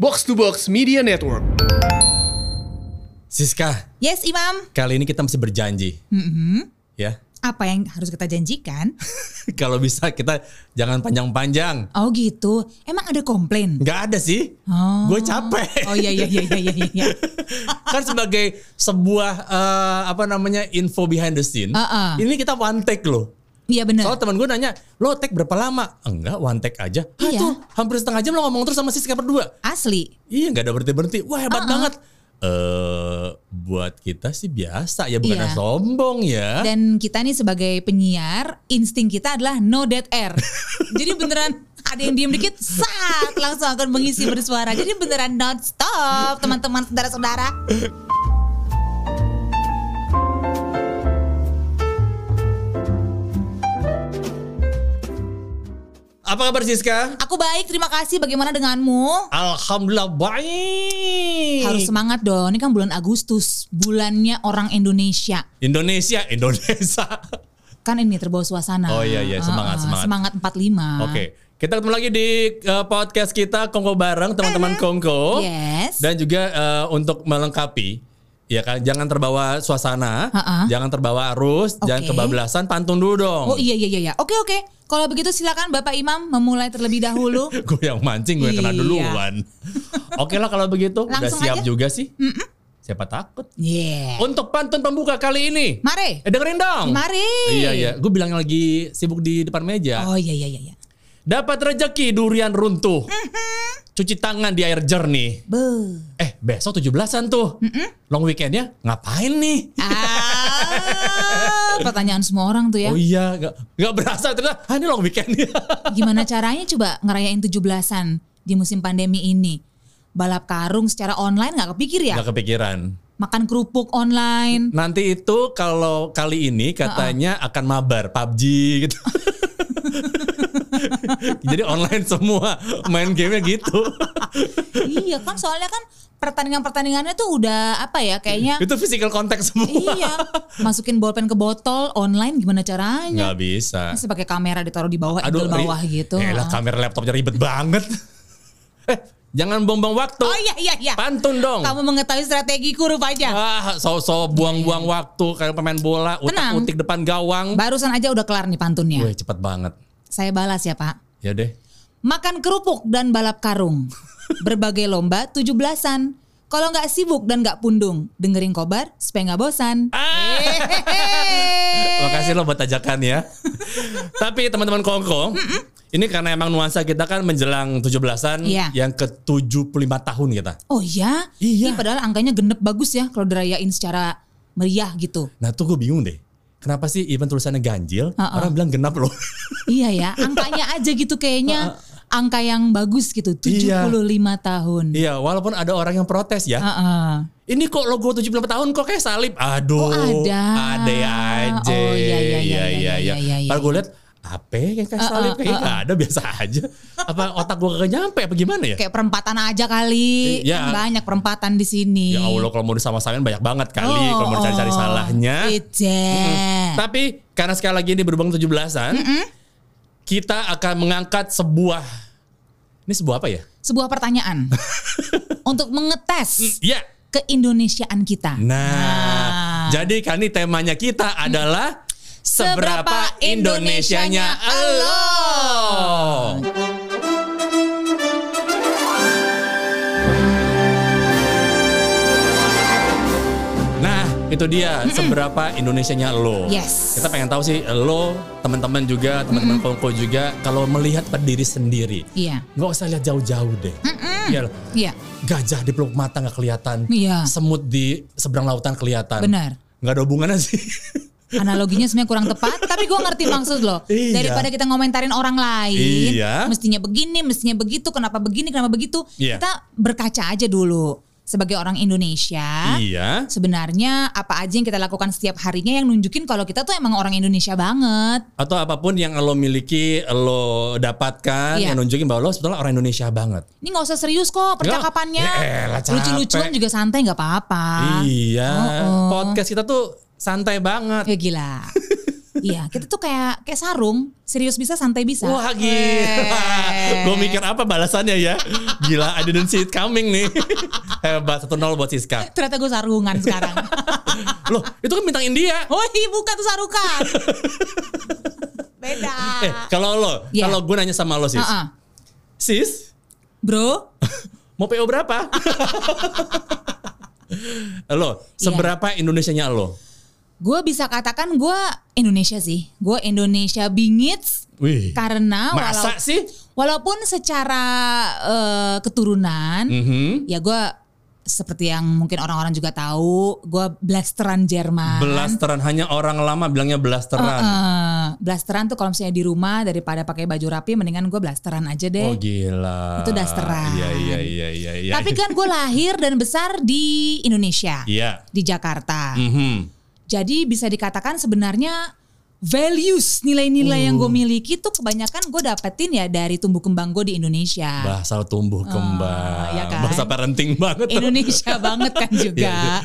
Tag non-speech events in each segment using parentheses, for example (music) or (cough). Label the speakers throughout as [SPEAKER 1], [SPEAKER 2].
[SPEAKER 1] Box to Box Media Network.
[SPEAKER 2] Siska,
[SPEAKER 3] Yes, Imam.
[SPEAKER 2] kali ini kita mesti berjanji.
[SPEAKER 3] Mm-hmm.
[SPEAKER 2] Ya. (laughs)
[SPEAKER 3] Apa yang harus kita janjikan? (laughs)
[SPEAKER 2] Kalau bisa kita jangan panjang-panjang.
[SPEAKER 3] Oh gitu. Emang ada
[SPEAKER 2] (laughs)
[SPEAKER 3] komplain?
[SPEAKER 2] Nggak ada sih.
[SPEAKER 3] Oh.
[SPEAKER 2] Gue capek.
[SPEAKER 3] Oh iya iya iya iya iya. iya.
[SPEAKER 2] (laughs) kan sebagai sebuah eh, apa namanya info behind the scene.
[SPEAKER 3] Uh-uh.
[SPEAKER 2] Ini kita one take loh.
[SPEAKER 3] Iya benar.
[SPEAKER 2] Soalnya teman gue nanya, lo take berapa lama? Enggak, one take aja. Hah,
[SPEAKER 3] Iya.
[SPEAKER 2] itu hampir setengah jam lo ngomong terus sama Siska berdua.
[SPEAKER 3] Asli.
[SPEAKER 2] Iya nggak ada berhenti berhenti. Wah hebat
[SPEAKER 3] Uh-uh.
[SPEAKER 2] banget. Eh buat kita sih biasa ya bukannya
[SPEAKER 3] Iya.
[SPEAKER 2] sombong ya.
[SPEAKER 3] Dan kita nih sebagai penyiar, insting kita adalah no dead
[SPEAKER 2] (laughs)
[SPEAKER 3] air. Jadi beneran ada yang diem dikit, saat langsung akan mengisi bersuara. Jadi beneran non stop, teman-teman saudara-saudara.
[SPEAKER 2] Apa kabar Siska?
[SPEAKER 3] Aku baik, terima kasih. Bagaimana denganmu?
[SPEAKER 2] Alhamdulillah baik.
[SPEAKER 3] Harus semangat dong. Ini kan bulan Agustus, bulannya orang Indonesia.
[SPEAKER 2] Indonesia, Indonesia.
[SPEAKER 3] Kan ini terbawa suasana.
[SPEAKER 2] Oh, iya, iya. Semangat,
[SPEAKER 3] Eh, eh,
[SPEAKER 2] semangat.
[SPEAKER 3] Semangat 45.
[SPEAKER 2] Oke, kita ketemu lagi di eh, podcast kita Kongko bareng teman-teman Kongko.
[SPEAKER 3] Yes.
[SPEAKER 2] Dan juga eh, untuk melengkapi ya kan jangan terbawa suasana,
[SPEAKER 3] Ha-ha.
[SPEAKER 2] jangan terbawa arus,
[SPEAKER 3] Oke.
[SPEAKER 2] jangan kebablasan pantun dulu dong. (laughs)
[SPEAKER 3] Oh iya iya iya. iya. Oke oke. Kalau begitu silakan Bapak Imam memulai terlebih dahulu.
[SPEAKER 2] (laughs) gue yang mancing, gue yang kena
[SPEAKER 3] Iya. (laughs)
[SPEAKER 2] duluan. Oke lah kalau begitu, udah
[SPEAKER 3] Langsung
[SPEAKER 2] siap
[SPEAKER 3] aja.
[SPEAKER 2] juga sih. Siapa takut?
[SPEAKER 3] Yeah.
[SPEAKER 2] Untuk pantun pembuka kali ini.
[SPEAKER 3] Mare.
[SPEAKER 2] Eh dengerin dong.
[SPEAKER 3] Mari.
[SPEAKER 2] Iya iya, gue bilang lagi sibuk di depan meja.
[SPEAKER 3] Oh iya iya iya. iya.
[SPEAKER 2] Dapat rejeki durian runtuh.
[SPEAKER 3] Mm-hmm.
[SPEAKER 2] Cuci tangan di air jernih.
[SPEAKER 3] Be.
[SPEAKER 2] Eh, besok 17-an tuh. Long weekendnya ngapain nih? (laughs)
[SPEAKER 3] Ah, pertanyaan semua orang tuh ya.
[SPEAKER 2] Oh iya, gak, nggak berasa ternyata. Ah, ini long weekend ya.
[SPEAKER 3] Gimana caranya coba ngerayain 17-an di musim pandemi ini? Balap karung secara online nggak kepikir (laughs) ya?
[SPEAKER 2] Gak kepikiran.
[SPEAKER 3] Makan kerupuk online.
[SPEAKER 2] Nanti itu kalau kali ini katanya
[SPEAKER 3] Uh-uh.
[SPEAKER 2] akan mabar PUBG gitu.
[SPEAKER 3] (laughs)
[SPEAKER 2] Jadi online semua main gamenya gitu.
[SPEAKER 3] (laughs) iya kan soalnya kan pertandingan-pertandingannya tuh udah apa ya kayaknya
[SPEAKER 2] itu physical contact semua.
[SPEAKER 3] iya masukin bolpen ke botol online gimana caranya?
[SPEAKER 2] Nggak bisa.
[SPEAKER 3] Masih pakai kamera ditaruh di bawah,
[SPEAKER 2] Aduh,
[SPEAKER 3] angle bawah
[SPEAKER 2] ri-
[SPEAKER 3] gitu.
[SPEAKER 2] Elah,
[SPEAKER 3] Ah.
[SPEAKER 2] kamera laptopnya ribet banget. (laughs) eh, jangan buang-buang waktu.
[SPEAKER 3] Oh iya iya iya.
[SPEAKER 2] Pantun dong.
[SPEAKER 3] Kamu mengetahui strategiku rupanya.
[SPEAKER 2] Ah, so-so buang-buang waktu kayak pemain bola,
[SPEAKER 3] Iya. Tenang.
[SPEAKER 2] utak-utik depan gawang.
[SPEAKER 3] Barusan aja udah kelar nih pantunnya.
[SPEAKER 2] Iya. Wih, cepet banget.
[SPEAKER 3] Saya balas ya, Pak.
[SPEAKER 2] Ya deh.
[SPEAKER 3] Makan kerupuk dan balap
[SPEAKER 2] (laughs)
[SPEAKER 3] karung. Berbagai lomba 17-an. Kalau nggak sibuk dan nggak pundung, dengerin kobar supaya nggak
[SPEAKER 2] (laughs)
[SPEAKER 3] bosan. Hehehe.
[SPEAKER 2] Ah, Makasih lo buat ajakan ya. (laughs) Tapi teman-teman Kongko, ini karena emang nuansa kita kan menjelang 17-an
[SPEAKER 3] Iya.
[SPEAKER 2] yang ke-75 tahun kita.
[SPEAKER 3] Oh ya?
[SPEAKER 2] Iya.
[SPEAKER 3] Ini padahal angkanya genep bagus ya kalau dirayain secara meriah gitu.
[SPEAKER 2] Nah tuh gue bingung deh. Kenapa sih event tulisannya ganjil?
[SPEAKER 3] Uh-uh.
[SPEAKER 2] Orang bilang genap
[SPEAKER 3] (laughs)
[SPEAKER 2] loh.
[SPEAKER 3] iya
[SPEAKER 2] (laughs)
[SPEAKER 3] ya, angkanya aja gitu kayaknya angka yang bagus gitu. 75
[SPEAKER 2] Iya.
[SPEAKER 3] tahun.
[SPEAKER 2] iya, walaupun ada orang yang protes ya.
[SPEAKER 3] Heeh.
[SPEAKER 2] Ini kok logo 75 tahun kok kayak salib? Aduh.
[SPEAKER 3] Oh, ada.
[SPEAKER 2] Ada ya aja.
[SPEAKER 3] Oh, iya, iya, iya, iya,
[SPEAKER 2] iya.
[SPEAKER 3] iya, iya,
[SPEAKER 2] Kalau
[SPEAKER 3] iya. Eh,
[SPEAKER 2] gue lihat apa yang kayak salib kayak nggak ada biasa aja. Apa otak gue kagak nyampe apa gimana ya?
[SPEAKER 3] Kayak perempatan aja kali.
[SPEAKER 2] Eh, ya.
[SPEAKER 3] Kan banyak perempatan di sini.
[SPEAKER 2] Ya Allah kalau mau disama-samain banyak banget kali
[SPEAKER 3] Oh,
[SPEAKER 2] kalau mau cari-cari
[SPEAKER 3] oh.
[SPEAKER 2] salahnya.
[SPEAKER 3] Ece.
[SPEAKER 2] Tapi karena sekali lagi ini berhubung 17-an, kita akan mengangkat sebuah ini sebuah apa ya?
[SPEAKER 3] Sebuah pertanyaan.
[SPEAKER 2] (laughs)
[SPEAKER 3] untuk mengetes
[SPEAKER 2] Ya.
[SPEAKER 3] keindonesiaan kita.
[SPEAKER 2] Nah,
[SPEAKER 3] Nah.
[SPEAKER 2] jadi kali ini temanya kita adalah
[SPEAKER 3] Seberapa Indonesianya
[SPEAKER 2] Elo? Nah, itu dia seberapa Indonesianya lo.
[SPEAKER 3] Yes.
[SPEAKER 2] Kita pengen tahu sih lo, teman-teman juga, teman-teman kongko juga kalau melihat pada diri sendiri.
[SPEAKER 3] Iya.
[SPEAKER 2] Nggak usah lihat jauh-jauh deh. Iya loh.
[SPEAKER 3] Iya.
[SPEAKER 2] Gajah di peluk mata nggak kelihatan.
[SPEAKER 3] Iya.
[SPEAKER 2] Semut di seberang lautan kelihatan.
[SPEAKER 3] Benar.
[SPEAKER 2] Nggak ada hubungannya sih.
[SPEAKER 3] Analoginya sebenarnya kurang tepat, tapi gue ngerti maksud lo.
[SPEAKER 2] Iya.
[SPEAKER 3] Daripada kita ngomentarin orang lain,
[SPEAKER 2] Iya.
[SPEAKER 3] mestinya begini, mestinya begitu, kenapa begini, kenapa begitu,
[SPEAKER 2] Iya.
[SPEAKER 3] kita berkaca aja dulu sebagai orang Indonesia.
[SPEAKER 2] iya.
[SPEAKER 3] Sebenarnya apa aja yang kita lakukan setiap harinya yang nunjukin kalau kita tuh emang orang Indonesia banget.
[SPEAKER 2] Atau apapun yang lo miliki, lo dapatkan,
[SPEAKER 3] Iya.
[SPEAKER 2] yang nunjukin bahwa lo sebetulnya orang Indonesia banget.
[SPEAKER 3] Ini nggak usah serius kok percakapannya.
[SPEAKER 2] Ya elah, capek.
[SPEAKER 3] Lucu-lucuan juga santai nggak apa-apa.
[SPEAKER 2] Iya.
[SPEAKER 3] Ah. Oh, Iya, oh.
[SPEAKER 2] (laughs) Podcast kita tuh santai banget.
[SPEAKER 3] Ya gila. Iya, kita tuh kayak kayak sarung, serius bisa, santai bisa.
[SPEAKER 2] Wah gila. Gue mikir apa balasannya ya. Gila, I didn't see it coming nih. (laughs) Hebat, 1-0 buat Siska.
[SPEAKER 3] Ternyata gue sarungan
[SPEAKER 2] (laughs)
[SPEAKER 3] sekarang.
[SPEAKER 2] Loh, itu kan bintang India.
[SPEAKER 3] Woi, bukan tuh sarungan. Beda.
[SPEAKER 2] Eh, kalau lo,
[SPEAKER 3] Iya. Ah,
[SPEAKER 2] kalau gue nanya sama lo sis.
[SPEAKER 3] Heeh.
[SPEAKER 2] Sis,
[SPEAKER 3] Bro,
[SPEAKER 2] mau PO berapa?
[SPEAKER 3] Iya.
[SPEAKER 2] lo, seberapa Indonesianya lo?
[SPEAKER 3] gue bisa katakan gue Indonesia sih. Gue Indonesia bingits
[SPEAKER 2] Wih.
[SPEAKER 3] karena
[SPEAKER 2] Masa
[SPEAKER 3] walau-
[SPEAKER 2] sih?
[SPEAKER 3] walaupun secara eh, keturunan
[SPEAKER 2] Mhm.
[SPEAKER 3] ya gue seperti yang mungkin orang-orang juga tahu, gue blasteran Jerman.
[SPEAKER 2] Blasteran hanya orang lama bilangnya blasteran.
[SPEAKER 3] Eh, blasteran tuh kalau misalnya di rumah daripada pakai baju rapi mendingan gue blasteran aja
[SPEAKER 2] Oh
[SPEAKER 3] deh.
[SPEAKER 2] gila.
[SPEAKER 3] Itu dasteran.
[SPEAKER 2] Iya iya iya iya iya.
[SPEAKER 3] Tapi kan gue lahir dan besar di
[SPEAKER 2] (laughs)
[SPEAKER 3] Indonesia,
[SPEAKER 2] Iya.
[SPEAKER 3] di Jakarta.
[SPEAKER 2] Mhm.
[SPEAKER 3] Jadi bisa dikatakan sebenarnya values nilai-nilai
[SPEAKER 2] Uh.
[SPEAKER 3] yang gue miliki tuh kebanyakan gue dapetin ya dari tumbuh kembang gue di Indonesia.
[SPEAKER 2] Bahasa tumbuh kembang.
[SPEAKER 3] Oh, iya kan?
[SPEAKER 2] Bahasa parenting banget. tuh.
[SPEAKER 3] Indonesia (laughs) banget kan juga.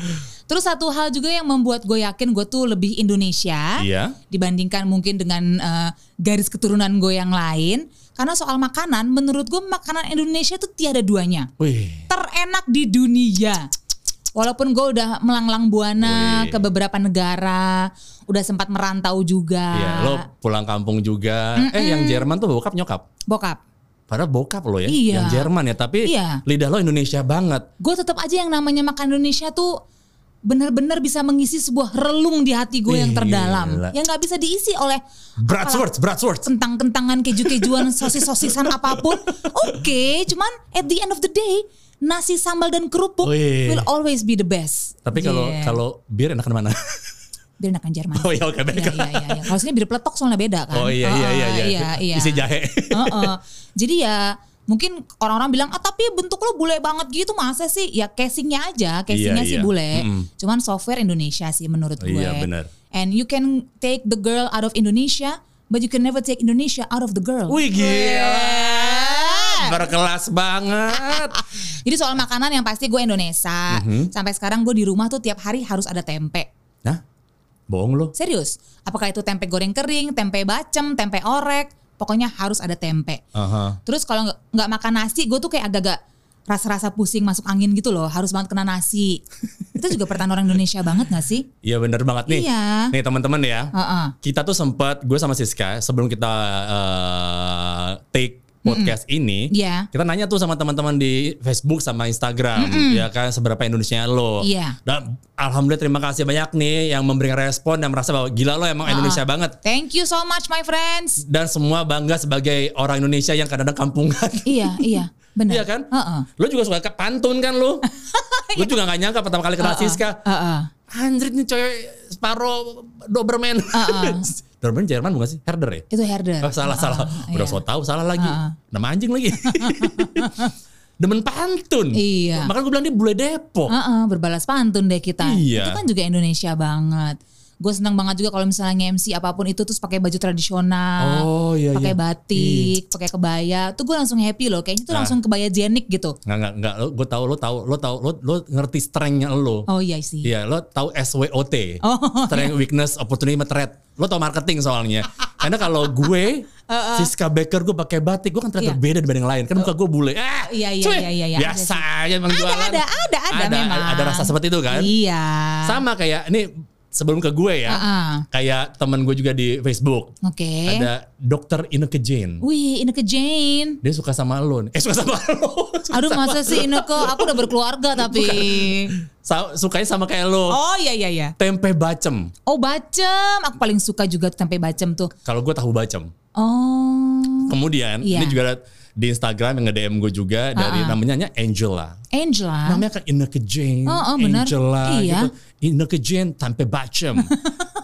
[SPEAKER 2] Iya,
[SPEAKER 3] Terus satu hal juga yang membuat gue yakin gue tuh lebih Indonesia
[SPEAKER 2] Iya.
[SPEAKER 3] dibandingkan mungkin dengan eh, garis keturunan gue yang lain. Karena soal makanan, menurut gue makanan Indonesia tuh tiada duanya.
[SPEAKER 2] (laughs) Wih.
[SPEAKER 3] terenak di dunia. Walaupun gue udah melanglang buana
[SPEAKER 2] Wih.
[SPEAKER 3] ke beberapa negara, udah sempat merantau juga.
[SPEAKER 2] Iya, lo pulang kampung juga. Eh, yang Jerman tuh bokap nyokap.
[SPEAKER 3] Bokap,
[SPEAKER 2] Padahal bokap lo ya,
[SPEAKER 3] Iya.
[SPEAKER 2] yang Jerman ya, tapi
[SPEAKER 3] Iya.
[SPEAKER 2] lidah lo Indonesia banget.
[SPEAKER 3] gue tetap aja yang namanya makan Indonesia tuh benar-benar bisa mengisi sebuah relung di hati gue yang
[SPEAKER 2] Iya, Gila.
[SPEAKER 3] terdalam, yang nggak bisa diisi oleh
[SPEAKER 2] Bradsworth, Bradsworth.
[SPEAKER 3] kentang-kentangan,
[SPEAKER 2] (laughs)
[SPEAKER 3] keju-kejuan, sosis-sosisan apapun. Oke, cuman at the end of the day, nasi sambal dan kerupuk
[SPEAKER 2] Wih.
[SPEAKER 3] will always be the
[SPEAKER 2] iya,
[SPEAKER 3] best. Iya.
[SPEAKER 2] Tapi kalau
[SPEAKER 3] Yeah. Kan?
[SPEAKER 2] kalau bir enakan mana?
[SPEAKER 3] Bir enakan Jerman.
[SPEAKER 2] Oh iya, oke, baik.
[SPEAKER 3] Iya, iya, iya, iya. Kalau sini bir peletok soalnya beda kan.
[SPEAKER 2] Oh iya iya
[SPEAKER 3] Heeh,
[SPEAKER 2] iya iya.
[SPEAKER 3] iya.
[SPEAKER 2] Isi
[SPEAKER 3] (laughs)
[SPEAKER 2] jahe.
[SPEAKER 3] Heeh. Jadi ya mungkin orang-orang bilang ah tapi bentuk lo bule banget gitu masa sih ya casingnya aja casingnya
[SPEAKER 2] Iya,
[SPEAKER 3] sih
[SPEAKER 2] iya.
[SPEAKER 3] bule
[SPEAKER 2] Mm-mm.
[SPEAKER 3] cuman software Indonesia sih menurut gue
[SPEAKER 2] Iya, benar.
[SPEAKER 3] and you can take the girl out of Indonesia but you can never take Indonesia out of the girl
[SPEAKER 2] Wih gila. Berkelas banget.
[SPEAKER 3] jadi soal makanan yang pasti gue Indonesia
[SPEAKER 2] Mm-hmm.
[SPEAKER 3] sampai sekarang gue di rumah tuh tiap hari harus ada tempe
[SPEAKER 2] Nah, bohong lo.
[SPEAKER 3] Serius, apakah itu tempe goreng kering, tempe bacem, tempe orek, pokoknya harus ada tempe.
[SPEAKER 2] Aha.
[SPEAKER 3] Terus kalau nggak- nggak makan nasi, gue tuh kayak agak-agak rasa-rasa pusing masuk angin gitu loh, harus banget kena
[SPEAKER 2] (laughs)
[SPEAKER 3] nasi. itu juga pertanyaan orang Indonesia banget gak sih?
[SPEAKER 2] Iya bener banget nih.
[SPEAKER 3] Iya.
[SPEAKER 2] Nih teman-teman ya.
[SPEAKER 3] Heeh.
[SPEAKER 2] Kita tuh sempat gue sama Siska sebelum kita eh, take podcast ini,
[SPEAKER 3] Iya.
[SPEAKER 2] kita nanya tuh sama teman-teman di Facebook sama Instagram, ya kan seberapa Indonesia lo.
[SPEAKER 3] Iya.
[SPEAKER 2] Dan alhamdulillah terima kasih banyak nih yang memberikan respon dan merasa bahwa gila lo emang Indonesia banget.
[SPEAKER 3] Thank you so much my friends.
[SPEAKER 2] Dan semua bangga sebagai orang Indonesia yang kadang-kadang kampungan. (laughs)
[SPEAKER 3] iya, iya, benar.
[SPEAKER 2] Iya kan?
[SPEAKER 3] Heeh. Iya.
[SPEAKER 2] Lo juga suka ke pantun kan
[SPEAKER 3] (laughs)
[SPEAKER 2] lo? lo juga gak nyangka pertama kali kenal Siska.
[SPEAKER 3] Heeh.
[SPEAKER 2] Anjir nih cewek separuh Doberman.
[SPEAKER 3] Heeh.
[SPEAKER 2] (laughs) Doberman Jerman bukan sih? Herder ya?
[SPEAKER 3] Itu herder.
[SPEAKER 2] Oh, salah
[SPEAKER 3] Heeh,
[SPEAKER 2] salah. Udah
[SPEAKER 3] iya.
[SPEAKER 2] so tau salah lagi.
[SPEAKER 3] Heeh.
[SPEAKER 2] Nama anjing
[SPEAKER 3] (laughs)
[SPEAKER 2] lagi. Demen pantun.
[SPEAKER 3] Iya.
[SPEAKER 2] Makanya gue bilang dia bule Depok.
[SPEAKER 3] Heeh, berbalas pantun deh kita.
[SPEAKER 2] Iya.
[SPEAKER 3] Itu kan juga Indonesia banget. Gue senang banget juga kalau misalnya MC apapun itu terus pakai baju tradisional,
[SPEAKER 2] Oh, iya,
[SPEAKER 3] pakai
[SPEAKER 2] iya.
[SPEAKER 3] batik, pakai kebaya. Tuh gue langsung happy loh. Kayaknya tuh
[SPEAKER 2] Nah.
[SPEAKER 3] langsung kebaya jenik gitu.
[SPEAKER 2] Enggak enggak enggak gue tahu lo tahu lo tahu lo, lo ngerti strength-nya lo.
[SPEAKER 3] Oh iya sih.
[SPEAKER 2] Iya, lo tahu SWOT.
[SPEAKER 3] (laughs) Oh,
[SPEAKER 2] strength, weakness, opportunity, sama threat. Lo tau marketing soalnya. Karena kalau
[SPEAKER 3] (laughs)
[SPEAKER 2] gue, Siska Baker gue pakai batik, gue kan ternyata
[SPEAKER 3] Uh, Iya.
[SPEAKER 2] beda dibanding yang lain. Kan muka gue bule. Ah,
[SPEAKER 3] Iya, iya,
[SPEAKER 2] cuy,
[SPEAKER 3] iya, iya, iya.
[SPEAKER 2] Biasa aja emang
[SPEAKER 3] Ada,
[SPEAKER 2] jualan.
[SPEAKER 3] ada, ada, ada memang.
[SPEAKER 2] Ada rasa seperti itu kan.
[SPEAKER 3] Iya.
[SPEAKER 2] Sama kayak, ini sebelum ke gue ya.
[SPEAKER 3] Heeh.
[SPEAKER 2] Kayak temen gue juga di Facebook.
[SPEAKER 3] Uh-uh. Oke. Uh.
[SPEAKER 2] Ada dokter Ineke Jane.
[SPEAKER 3] Wih, Ineke Jane.
[SPEAKER 2] Dia suka sama lo. nih. Eh suka sama lo. Suka
[SPEAKER 3] Aduh
[SPEAKER 2] sama-
[SPEAKER 3] masa sih Ineke, aku udah
[SPEAKER 2] (laughs)
[SPEAKER 3] berkeluarga tapi.
[SPEAKER 2] sa- Sukanya sama kayak lo.
[SPEAKER 3] Oh iya iya iya.
[SPEAKER 2] Tempe bacem.
[SPEAKER 3] Oh bacem, aku paling suka juga tuh tempe bacem tuh.
[SPEAKER 2] Kalau gue tahu bacem.
[SPEAKER 3] Oh.
[SPEAKER 2] Kemudian
[SPEAKER 3] Iya. Ah,
[SPEAKER 2] ini juga ada di Instagram yang nge-DM gue juga dari namanya Angela.
[SPEAKER 3] Angela.
[SPEAKER 2] Namanya kan Ineke Jane,
[SPEAKER 3] Oh, oh, benar.
[SPEAKER 2] Angela
[SPEAKER 3] Iya.
[SPEAKER 2] gitu. Ineke Jane sampai
[SPEAKER 3] (laughs)
[SPEAKER 2] bacem.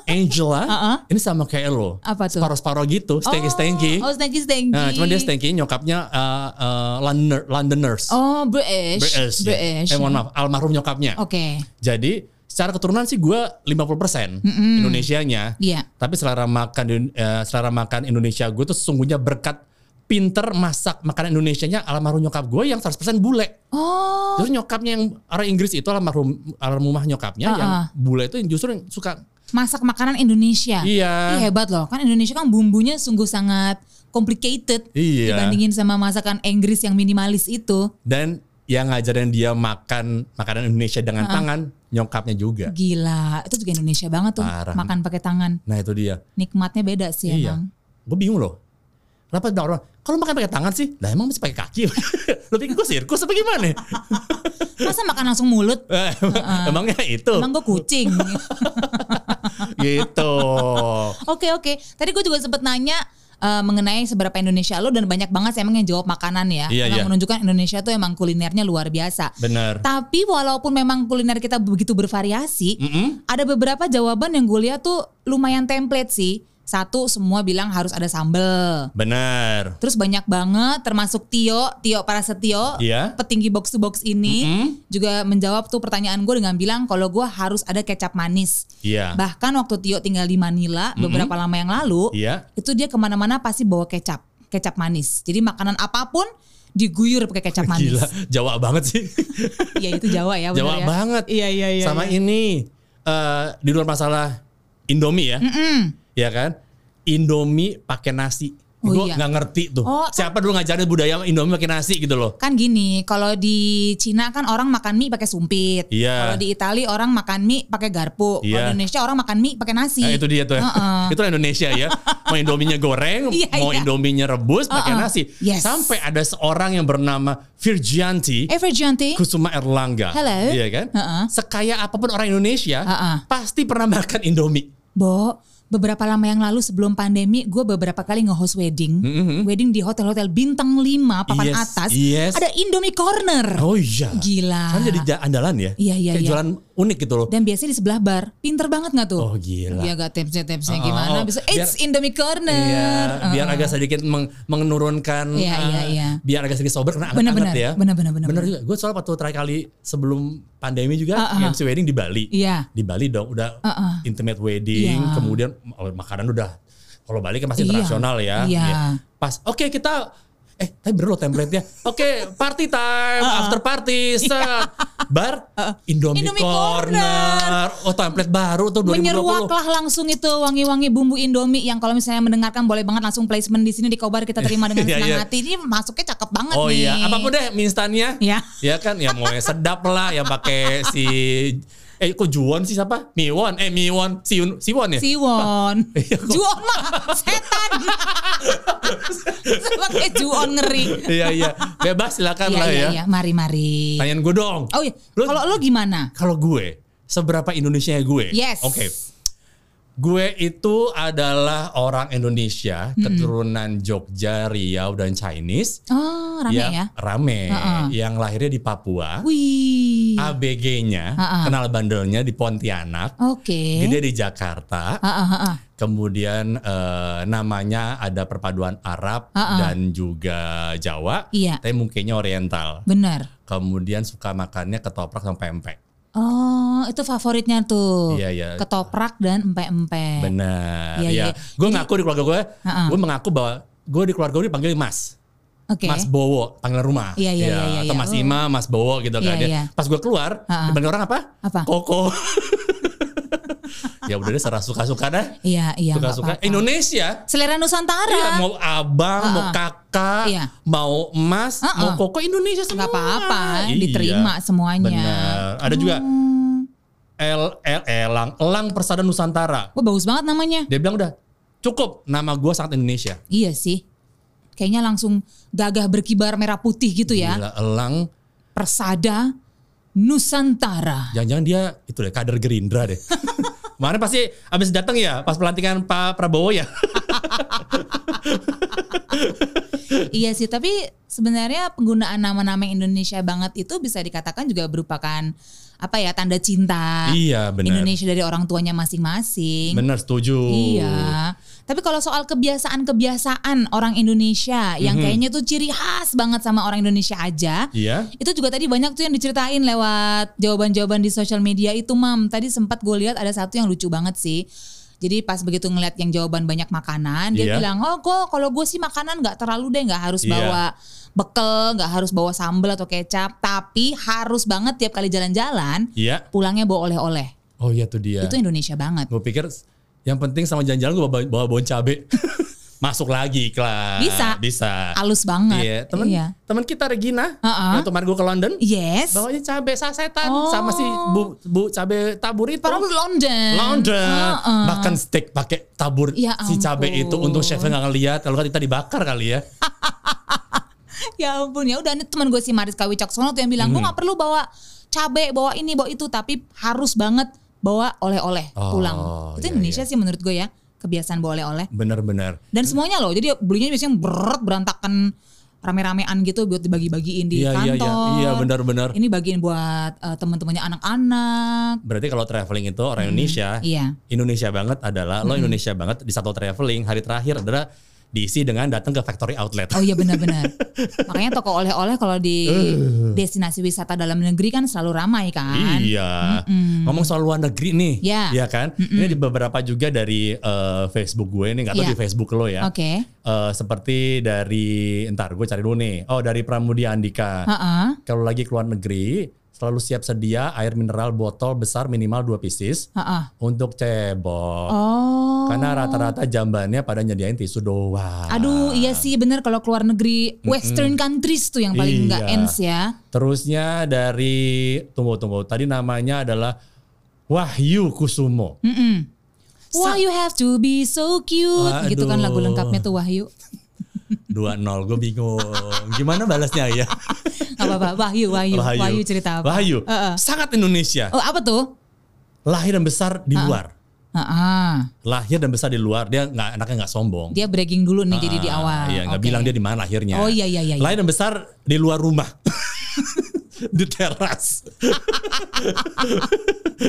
[SPEAKER 2] Angela,
[SPEAKER 3] Uh-uh.
[SPEAKER 2] ini sama kayak lo.
[SPEAKER 3] Apa tuh?
[SPEAKER 2] Separuh-separuh gitu, stengki-stengki.
[SPEAKER 3] Oh, stanky stanky.
[SPEAKER 2] Nah, cuman dia stengki nyokapnya uh, uh, Londoner, Londoners.
[SPEAKER 3] Oh, British.
[SPEAKER 2] British. ya. Eh, mohon maaf, almarhum nyokapnya.
[SPEAKER 3] Oke.
[SPEAKER 2] Jadi secara keturunan sih gue 50% Indonesianya.
[SPEAKER 3] Iya.
[SPEAKER 2] Tapi selera makan eh, selera makan Indonesia gue tuh sesungguhnya berkat pinter masak makanan Indonesianya almarhum nyokap gue yang 100% bule.
[SPEAKER 3] Oh,
[SPEAKER 2] Terus nyokapnya yang orang Inggris itu almarhum almarhumah nyokapnya yang
[SPEAKER 3] Ah, ah.
[SPEAKER 2] bule itu yang justru yang suka
[SPEAKER 3] masak makanan Indonesia.
[SPEAKER 2] Iya.
[SPEAKER 3] Ih, hebat loh. Kan Indonesia kan bumbunya sungguh sangat complicated
[SPEAKER 2] Iya.
[SPEAKER 3] dibandingin sama masakan Inggris yang minimalis itu.
[SPEAKER 2] Dan yang ngajarin dia makan makanan Indonesia dengan tangan, nyokapnya juga.
[SPEAKER 3] Gila, itu juga Indonesia banget tuh.
[SPEAKER 2] Parah.
[SPEAKER 3] Makan pakai tangan.
[SPEAKER 2] Nah itu dia.
[SPEAKER 3] Nikmatnya beda sih
[SPEAKER 2] Iya.
[SPEAKER 3] emang.
[SPEAKER 2] Gue bingung loh. Kenapa bilang orang, kalau makan pakai tangan sih, lah emang masih pakai kaki. (laughs) Lo pikir gue sirkus apa gimana?
[SPEAKER 3] (laughs) Masa makan langsung mulut?
[SPEAKER 2] Eh, (laughs) Emangnya itu?
[SPEAKER 3] Emang gue
[SPEAKER 2] (laughs)
[SPEAKER 3] kucing. (laughs)
[SPEAKER 2] gitu.
[SPEAKER 3] Oke oke. Tadi gue juga sempet nanya eh, mengenai seberapa Indonesia lo dan banyak banget sih emang yang jawab makanan ya.
[SPEAKER 2] Iya,
[SPEAKER 3] Emang
[SPEAKER 2] iya.
[SPEAKER 3] menunjukkan Indonesia tuh emang kulinernya luar biasa.
[SPEAKER 2] Bener.
[SPEAKER 3] Tapi walaupun memang kuliner kita begitu bervariasi, ada beberapa jawaban yang gue lihat tuh lumayan template sih. Satu semua bilang harus ada sambel.
[SPEAKER 2] Bener.
[SPEAKER 3] Terus banyak banget termasuk Tio, Tio Parasetyo,
[SPEAKER 2] Iya.
[SPEAKER 3] petinggi box to box ini juga menjawab tuh pertanyaan gue dengan bilang kalau gue harus ada kecap manis.
[SPEAKER 2] Iya.
[SPEAKER 3] Bahkan waktu Tio tinggal di Manila beberapa lama yang lalu,
[SPEAKER 2] Iya.
[SPEAKER 3] itu dia kemana-mana pasti bawa kecap, kecap manis. Jadi makanan apapun diguyur pakai kecap manis. (laughs)
[SPEAKER 2] Gila, Jawa banget sih.
[SPEAKER 3] Iya itu Jawa ya, benar
[SPEAKER 2] Jawa
[SPEAKER 3] ya.
[SPEAKER 2] banget.
[SPEAKER 3] Iya (laughs) iya iya.
[SPEAKER 2] Sama
[SPEAKER 3] iya.
[SPEAKER 2] ini eh, di luar masalah Indomie ya. Ya kan? Indomie pakai nasi.
[SPEAKER 3] Oh
[SPEAKER 2] gue
[SPEAKER 3] iya.
[SPEAKER 2] nggak ngerti tuh.
[SPEAKER 3] Oh,
[SPEAKER 2] Siapa dulu ngajarin budaya Indomie pakai nasi gitu loh.
[SPEAKER 3] Kan gini, kalau di Cina kan orang makan mie pakai sumpit.
[SPEAKER 2] Iya.
[SPEAKER 3] Kalau di Italia orang makan mie pakai garpu. Kalau
[SPEAKER 2] Iya.
[SPEAKER 3] di Indonesia orang makan mie pakai nasi.
[SPEAKER 2] Nah, itu dia tuh.
[SPEAKER 3] Iya. Heeh.
[SPEAKER 2] (laughs) Itu Indonesia ya. Mau indominya goreng,
[SPEAKER 3] (laughs) Iya,
[SPEAKER 2] mau
[SPEAKER 3] iya.
[SPEAKER 2] indominya rebus pakai
[SPEAKER 3] Heeh.
[SPEAKER 2] nasi.
[SPEAKER 3] Yes.
[SPEAKER 2] Sampai ada seorang yang bernama Virgianti
[SPEAKER 3] Evergiante.
[SPEAKER 2] Kusuma Erlangga.
[SPEAKER 3] eh. Hello.
[SPEAKER 2] Iya kan?
[SPEAKER 3] Heeh.
[SPEAKER 2] Sekaya apapun orang Indonesia,
[SPEAKER 3] Heeh.
[SPEAKER 2] pasti pernah makan Indomie.
[SPEAKER 3] Bo, beberapa lama yang lalu sebelum pandemi, gue beberapa kali nge-host wedding. Wedding di hotel-hotel bintang 5, papan
[SPEAKER 2] Mm-hmm. Yes,
[SPEAKER 3] atas.
[SPEAKER 2] yes.
[SPEAKER 3] Ada Indomie Corner.
[SPEAKER 2] Oh iya.
[SPEAKER 3] Gila.
[SPEAKER 2] Kan jadi ja- andalan ya.
[SPEAKER 3] Iya, iya,
[SPEAKER 2] Kayak
[SPEAKER 3] iya.
[SPEAKER 2] jualan unik gitu loh.
[SPEAKER 3] Dan biasanya di sebelah bar. Pinter banget gak tuh? Iya
[SPEAKER 2] Oh, gila.
[SPEAKER 3] Dia gak tips-tipsnya
[SPEAKER 2] Oh,
[SPEAKER 3] gimana.
[SPEAKER 2] oh,
[SPEAKER 3] Bisa,
[SPEAKER 2] biar-
[SPEAKER 3] it's Indomie Corner.
[SPEAKER 2] Iya, biar
[SPEAKER 3] Uh-uh.
[SPEAKER 2] agak sedikit meng- menurunkan
[SPEAKER 3] Iya,
[SPEAKER 2] eh,
[SPEAKER 3] iya, iya.
[SPEAKER 2] biar agak sedikit sober karena
[SPEAKER 3] Benar,
[SPEAKER 2] anget-anget
[SPEAKER 3] benar.
[SPEAKER 2] ya.
[SPEAKER 3] Benar, benar, benar,
[SPEAKER 2] Benar
[SPEAKER 3] benar.
[SPEAKER 2] juga. Gue soal waktu terakhir kali sebelum pandemi juga
[SPEAKER 3] Ah, ah.
[SPEAKER 2] MC wedding di Bali.
[SPEAKER 3] Iya.
[SPEAKER 2] Di Bali dong udah
[SPEAKER 3] Ah, ah.
[SPEAKER 2] intimate wedding,
[SPEAKER 3] Iya.
[SPEAKER 2] kemudian oh, makanan udah kalau Bali kan pasti
[SPEAKER 3] Iya.
[SPEAKER 2] internasional ya.
[SPEAKER 3] Iya.
[SPEAKER 2] Pas oke kita eh tapi bener loh template-nya.
[SPEAKER 3] (laughs)
[SPEAKER 2] Oke, party
[SPEAKER 3] Ah,
[SPEAKER 2] time, after party, set. Bar Indomie,
[SPEAKER 3] Iya. Indomie
[SPEAKER 2] Corner.
[SPEAKER 3] Corner.
[SPEAKER 2] Oh, template baru tuh 2020.
[SPEAKER 3] Menyeruaklah langsung itu wangi-wangi bumbu Indomie yang kalau misalnya mendengarkan boleh banget langsung placement di sini di Kobar kita terima dengan
[SPEAKER 2] (laughs) Iya,
[SPEAKER 3] senang
[SPEAKER 2] iya.
[SPEAKER 3] hati. Ini masuknya cakep banget
[SPEAKER 2] Oh
[SPEAKER 3] nih.
[SPEAKER 2] iya, apapun deh mie instannya.
[SPEAKER 3] Iya.
[SPEAKER 2] Ya kan, ya mau yang sedap lah, yang pakai si eh kok Juwon sih siapa? Miwon, eh Miwon, Siun, Siwon ya.
[SPEAKER 3] Siwon.
[SPEAKER 2] Iya, kok.
[SPEAKER 3] Juon mah setan. Sebagai Juon ngeri.
[SPEAKER 2] (laughs) Iya iya, bebas silakan
[SPEAKER 3] Iya
[SPEAKER 2] lah
[SPEAKER 3] iya
[SPEAKER 2] ya.
[SPEAKER 3] iya, mari mari.
[SPEAKER 2] Tanyain gue dong.
[SPEAKER 3] Oh iya,
[SPEAKER 2] Lu-
[SPEAKER 3] kalau lo gimana?
[SPEAKER 2] Kalau gue, seberapa Indonesia ya gue?
[SPEAKER 3] Yes.
[SPEAKER 2] Oke. Gue itu adalah orang Indonesia, keturunan Jogja, Riau dan Chinese.
[SPEAKER 3] Oh, rame
[SPEAKER 2] yang
[SPEAKER 3] ya.
[SPEAKER 2] Rame.
[SPEAKER 3] Heeh.
[SPEAKER 2] Yang lahirnya di Papua.
[SPEAKER 3] Wih.
[SPEAKER 2] Ah. ABG-nya,
[SPEAKER 3] Heeh.
[SPEAKER 2] kenal bandelnya di Pontianak.
[SPEAKER 3] Oke.
[SPEAKER 2] Gede di Jakarta,
[SPEAKER 3] Ah, ah, ah, ah.
[SPEAKER 2] kemudian eh, namanya ada perpaduan Arab
[SPEAKER 3] Ah, ah.
[SPEAKER 2] dan juga Jawa,
[SPEAKER 3] Iya.
[SPEAKER 2] tapi mungkinnya Oriental.
[SPEAKER 3] Bener.
[SPEAKER 2] Kemudian suka makannya ketoprak sama pempek.
[SPEAKER 3] Oh, itu favoritnya tuh.
[SPEAKER 2] Iya, iya.
[SPEAKER 3] Ketoprak dan empek-empek.
[SPEAKER 2] Benar.
[SPEAKER 3] Eh. Iya,
[SPEAKER 2] ya.
[SPEAKER 3] iya.
[SPEAKER 2] Gue ngaku di keluarga gue,
[SPEAKER 3] Ah, ah.
[SPEAKER 2] gue mengaku bahwa gue di keluarga gue dipanggil Mas.
[SPEAKER 3] Oke.
[SPEAKER 2] Mas Bowo, panggilan rumah.
[SPEAKER 3] Iya, iya,
[SPEAKER 2] Ya,
[SPEAKER 3] iya, iya,
[SPEAKER 2] Atau
[SPEAKER 3] iya.
[SPEAKER 2] Mas
[SPEAKER 3] Oh.
[SPEAKER 2] Ima, Mas Bowo gitu kan.
[SPEAKER 3] Iya,
[SPEAKER 2] Dia-
[SPEAKER 3] iya.
[SPEAKER 2] Pas gue keluar,
[SPEAKER 3] Ah, ah.
[SPEAKER 2] dipanggil orang apa?
[SPEAKER 3] Apa?
[SPEAKER 2] Koko. (laughs) ya udah deh, serah suka-suka dah.
[SPEAKER 3] Iya, iya. nggak
[SPEAKER 2] Suka-suka.
[SPEAKER 3] apa-apa.
[SPEAKER 2] Indonesia
[SPEAKER 3] Selera Nusantara.
[SPEAKER 2] Iya mau abang,
[SPEAKER 3] Ah,
[SPEAKER 2] mau
[SPEAKER 3] ah.
[SPEAKER 2] kakak,
[SPEAKER 3] Iya.
[SPEAKER 2] mau emas,
[SPEAKER 3] Ah,
[SPEAKER 2] mau
[SPEAKER 3] ah.
[SPEAKER 2] koko Indonesia semua. Iya,
[SPEAKER 3] Gak apa-apa, diterima semuanya. Hmm.
[SPEAKER 2] Benar. Ada juga El El Elang, Elang Persada Nusantara.
[SPEAKER 3] Wah bagus banget namanya.
[SPEAKER 2] Dia bilang udah cukup nama gua sangat Indonesia.
[SPEAKER 3] Iya sih. Kayaknya langsung gagah berkibar merah putih gitu ya.
[SPEAKER 2] Gila, Elang,
[SPEAKER 3] Persada
[SPEAKER 2] (laughs)
[SPEAKER 3] Nusantara.
[SPEAKER 2] jangan-jangan dia itu deh kader Gerindra
[SPEAKER 3] (laughs)
[SPEAKER 2] deh. Kemarin pasti abis datang ya pas pelantikan Pak Prabowo ya.
[SPEAKER 3] iya sih, tapi sebenarnya penggunaan nama-nama yang Indonesia banget itu bisa dikatakan juga merupakan apa ya tanda cinta
[SPEAKER 2] iya benar.
[SPEAKER 3] Indonesia dari orang tuanya masing-masing.
[SPEAKER 2] Benar setuju.
[SPEAKER 3] Iya. Tapi kalau soal kebiasaan-kebiasaan orang Indonesia yang
[SPEAKER 2] Mhm.
[SPEAKER 3] kayaknya tuh ciri khas banget sama orang Indonesia aja.
[SPEAKER 2] Iya.
[SPEAKER 3] Itu juga tadi banyak tuh yang diceritain lewat jawaban-jawaban di sosial media itu, Mam. Tadi sempat gue lihat ada satu yang lucu banget sih. Jadi pas begitu ngeliat yang jawaban banyak makanan, dia
[SPEAKER 2] Iya.
[SPEAKER 3] bilang, oh kok kalau gue sih makanan nggak terlalu deh, nggak harus
[SPEAKER 2] Iya.
[SPEAKER 3] bawa bekel, nggak harus bawa sambel atau kecap, tapi harus banget tiap kali jalan-jalan
[SPEAKER 2] Iya.
[SPEAKER 3] pulangnya bawa oleh-oleh.
[SPEAKER 2] Oh iya tuh dia.
[SPEAKER 3] Itu Indonesia banget.
[SPEAKER 2] Gue pikir yang penting sama jalan-jalan gue bawa, bawa bawang cabe. (laughs) Masuk lagi iklan.
[SPEAKER 3] Bisa.
[SPEAKER 2] Bisa.
[SPEAKER 3] Halus banget.
[SPEAKER 2] Iya, temen,
[SPEAKER 3] Iya.
[SPEAKER 2] temen kita Regina,
[SPEAKER 3] Ha-ha.
[SPEAKER 2] yang kemarin gue ke London,
[SPEAKER 3] Yes.
[SPEAKER 2] bawanya cabe sasetan
[SPEAKER 3] Oh.
[SPEAKER 2] sama si bu bu cabe tabur itu.
[SPEAKER 3] From London.
[SPEAKER 2] London,
[SPEAKER 3] Heeh.
[SPEAKER 2] bahkan steak pakai tabur
[SPEAKER 3] Ya
[SPEAKER 2] si cabe
[SPEAKER 3] ampun.
[SPEAKER 2] itu untung chefnya nggak ngeliat kalau nggak kita dibakar kali ya.
[SPEAKER 3] Ya ampun ya udah ini teman gue si Mariska Wicaksono tuh yang bilang
[SPEAKER 2] Hmm.
[SPEAKER 3] gue nggak perlu bawa cabe bawa ini bawa itu tapi harus banget bawa oleh-oleh
[SPEAKER 2] Oh,
[SPEAKER 3] pulang. Itu
[SPEAKER 2] iya,
[SPEAKER 3] Indonesia
[SPEAKER 2] iya. Hmm.
[SPEAKER 3] sih menurut gue ya kebiasaan bawa oleh-oleh
[SPEAKER 2] Bener-bener.
[SPEAKER 3] dan semuanya loh jadi belinya biasanya beret berantakan rame-ramean gitu buat dibagi-bagiin di
[SPEAKER 2] Iya iya
[SPEAKER 3] kantor.
[SPEAKER 2] iya iya benar-benar.
[SPEAKER 3] Ini bagiin buat eh, teman-temannya anak-anak.
[SPEAKER 2] Berarti kalau traveling itu orang Indonesia,
[SPEAKER 3] Iya.
[SPEAKER 2] Indonesia banget adalah
[SPEAKER 3] Hmm.
[SPEAKER 2] lo Indonesia banget di satu traveling hari terakhir adalah diisi dengan datang ke factory outlet.
[SPEAKER 3] Oh iya benar-benar. Makanya toko oleh-oleh kalau di
[SPEAKER 2] Eh.
[SPEAKER 3] destinasi wisata dalam negeri kan selalu ramai kan.
[SPEAKER 2] Iya, ngomong soal luar negeri nih,
[SPEAKER 3] Ya.
[SPEAKER 2] iya kan? Ini di beberapa juga dari eh, Facebook gue nih, nggak tahu
[SPEAKER 3] Iya.
[SPEAKER 2] di Facebook lo ya.
[SPEAKER 3] Oke.
[SPEAKER 2] Eh, seperti dari, ntar gue cari dulu nih. Oh dari Pramudia Andika.
[SPEAKER 3] Heeh.
[SPEAKER 2] Kalau lagi keluar negeri, selalu siap sedia air mineral botol besar minimal 2 pieces
[SPEAKER 3] Heeh.
[SPEAKER 2] untuk cebok.
[SPEAKER 3] Oh.
[SPEAKER 2] Karena rata-rata jambannya pada nyediain tisu doang. Ah.
[SPEAKER 3] Aduh, iya sih bener kalau keluar negeri western countries tuh yang paling nggak
[SPEAKER 2] Iya.
[SPEAKER 3] ends ya.
[SPEAKER 2] Terusnya dari tunggu tunggu tadi namanya adalah Wahyu Kusumo.
[SPEAKER 3] Mm-mm. Why you have to be so cute gitu kan lagu
[SPEAKER 2] Waduh.
[SPEAKER 3] lengkapnya tuh Wahyu.
[SPEAKER 2] 2-0 gue bingung. Gimana balasnya ya?
[SPEAKER 3] Gak apa-apa, Wahyu, Wahyu, Iya, Wahyu, cerita apa?
[SPEAKER 2] Wahyu.
[SPEAKER 3] Heeh.
[SPEAKER 2] Sangat Indonesia.
[SPEAKER 3] Oh, apa tuh?
[SPEAKER 2] Lahir dan besar di luar.
[SPEAKER 3] Heeh.
[SPEAKER 2] Lahir dan besar di luar dia nggak anaknya nggak sombong.
[SPEAKER 3] Dia bragging dulu nih jadi di
[SPEAKER 2] Ah,
[SPEAKER 3] awal.
[SPEAKER 2] Iya, nggak
[SPEAKER 3] Oke.
[SPEAKER 2] bilang dia di mana lahirnya.
[SPEAKER 3] Oh, iya, iya, iya, iya.
[SPEAKER 2] Lahir dan besar di luar rumah. (laughs) di teras. (laughs)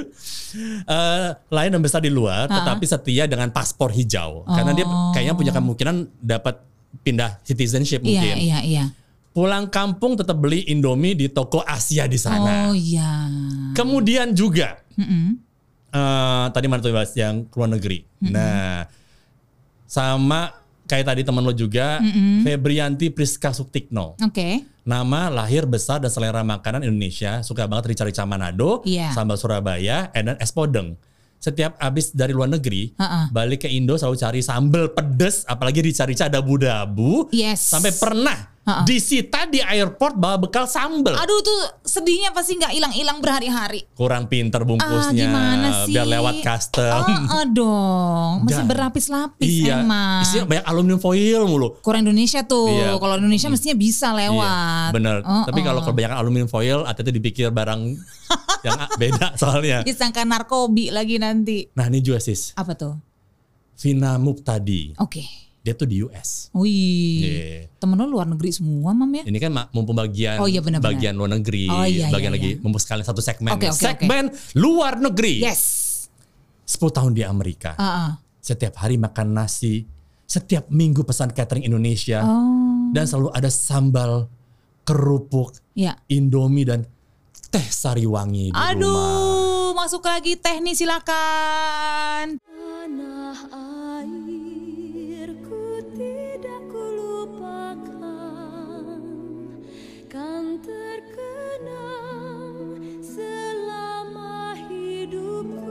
[SPEAKER 2] Eh, lahir dan besar di luar, tetapi setia dengan paspor hijau. Karena dia kayaknya punya kemungkinan dapat pindah citizenship
[SPEAKER 3] Oh. Iya,
[SPEAKER 2] mungkin.
[SPEAKER 3] iya, iya.
[SPEAKER 2] Pulang kampung tetap beli Indomie di toko Asia di sana.
[SPEAKER 3] Oh iya.
[SPEAKER 2] Kemudian juga
[SPEAKER 3] Mm-mm.
[SPEAKER 2] eh tadi mana tuh bahas yang luar negeri. Nah, sama kayak tadi teman lo juga Febrianti Priska Sutikno.
[SPEAKER 3] Oke.
[SPEAKER 2] Nama lahir besar dan selera makanan Indonesia, suka banget rica-rica Manado,
[SPEAKER 3] Iya.
[SPEAKER 2] sambal Surabaya, and then es podeng. Setiap abis dari luar negeri,
[SPEAKER 3] Ha-ha.
[SPEAKER 2] balik ke Indo selalu cari sambal pedes, apalagi rica-rica dabu-dabu.
[SPEAKER 3] Yes.
[SPEAKER 2] Sampai pernah
[SPEAKER 3] Ha-ha.
[SPEAKER 2] disita di airport bawa bekal sambal.
[SPEAKER 3] (laughs) Aduh tuh sedihnya pasti nggak hilang-hilang berhari-hari.
[SPEAKER 2] Kurang pinter
[SPEAKER 3] Ah,
[SPEAKER 2] bungkusnya,
[SPEAKER 3] gimana sih?
[SPEAKER 2] biar lewat custom. (laughs) Iya.
[SPEAKER 3] Ah, ah, dong,
[SPEAKER 2] Dan-
[SPEAKER 3] mesti berlapis-lapis
[SPEAKER 2] Ya. Iya,
[SPEAKER 3] emang.
[SPEAKER 2] isinya banyak aluminium foil mulu.
[SPEAKER 3] Kurang Indonesia tuh.
[SPEAKER 2] Iya.
[SPEAKER 3] Kalau Indonesia mestinya bisa
[SPEAKER 2] Iya,
[SPEAKER 3] lewat.
[SPEAKER 2] bener.
[SPEAKER 3] Oh,
[SPEAKER 2] Tapi kalau
[SPEAKER 3] oh.
[SPEAKER 2] kebanyakan aluminium foil, hati-hati dipikir
[SPEAKER 3] (laughs)
[SPEAKER 2] barang yang a- beda soalnya.
[SPEAKER 3] disangka narkobi lagi nanti.
[SPEAKER 2] Nah ini juga sis,
[SPEAKER 3] Apa tuh?
[SPEAKER 2] Vina Mubtadi,
[SPEAKER 3] Oke.
[SPEAKER 2] dia tuh di US.
[SPEAKER 3] Wih.
[SPEAKER 2] Iya.
[SPEAKER 3] Temen lu luar negeri semua, Mam ya?
[SPEAKER 2] Ini kan ma- mumpung bagian
[SPEAKER 3] Oh, iya, benar-benar.
[SPEAKER 2] bagian luar negeri,
[SPEAKER 3] Oh, iya,
[SPEAKER 2] bagian
[SPEAKER 3] iya,
[SPEAKER 2] lagi
[SPEAKER 3] iya.
[SPEAKER 2] mumpung sekalian satu segmen.
[SPEAKER 3] Oke,
[SPEAKER 2] nih.
[SPEAKER 3] oke, oke.
[SPEAKER 2] segmen luar negeri.
[SPEAKER 3] Yes.
[SPEAKER 2] 10 tahun di Amerika.
[SPEAKER 3] Ah, ah.
[SPEAKER 2] Setiap hari makan nasi, setiap minggu pesan catering Indonesia
[SPEAKER 3] Oh.
[SPEAKER 2] dan selalu ada sambal, kerupuk,
[SPEAKER 3] Ya.
[SPEAKER 2] Indomie dan teh sari wangi di rumah.
[SPEAKER 3] Aduh, masuk lagi teh nih silakan.
[SPEAKER 4] Tanah airku tidak kulupakan Kan terkenang selama hidupku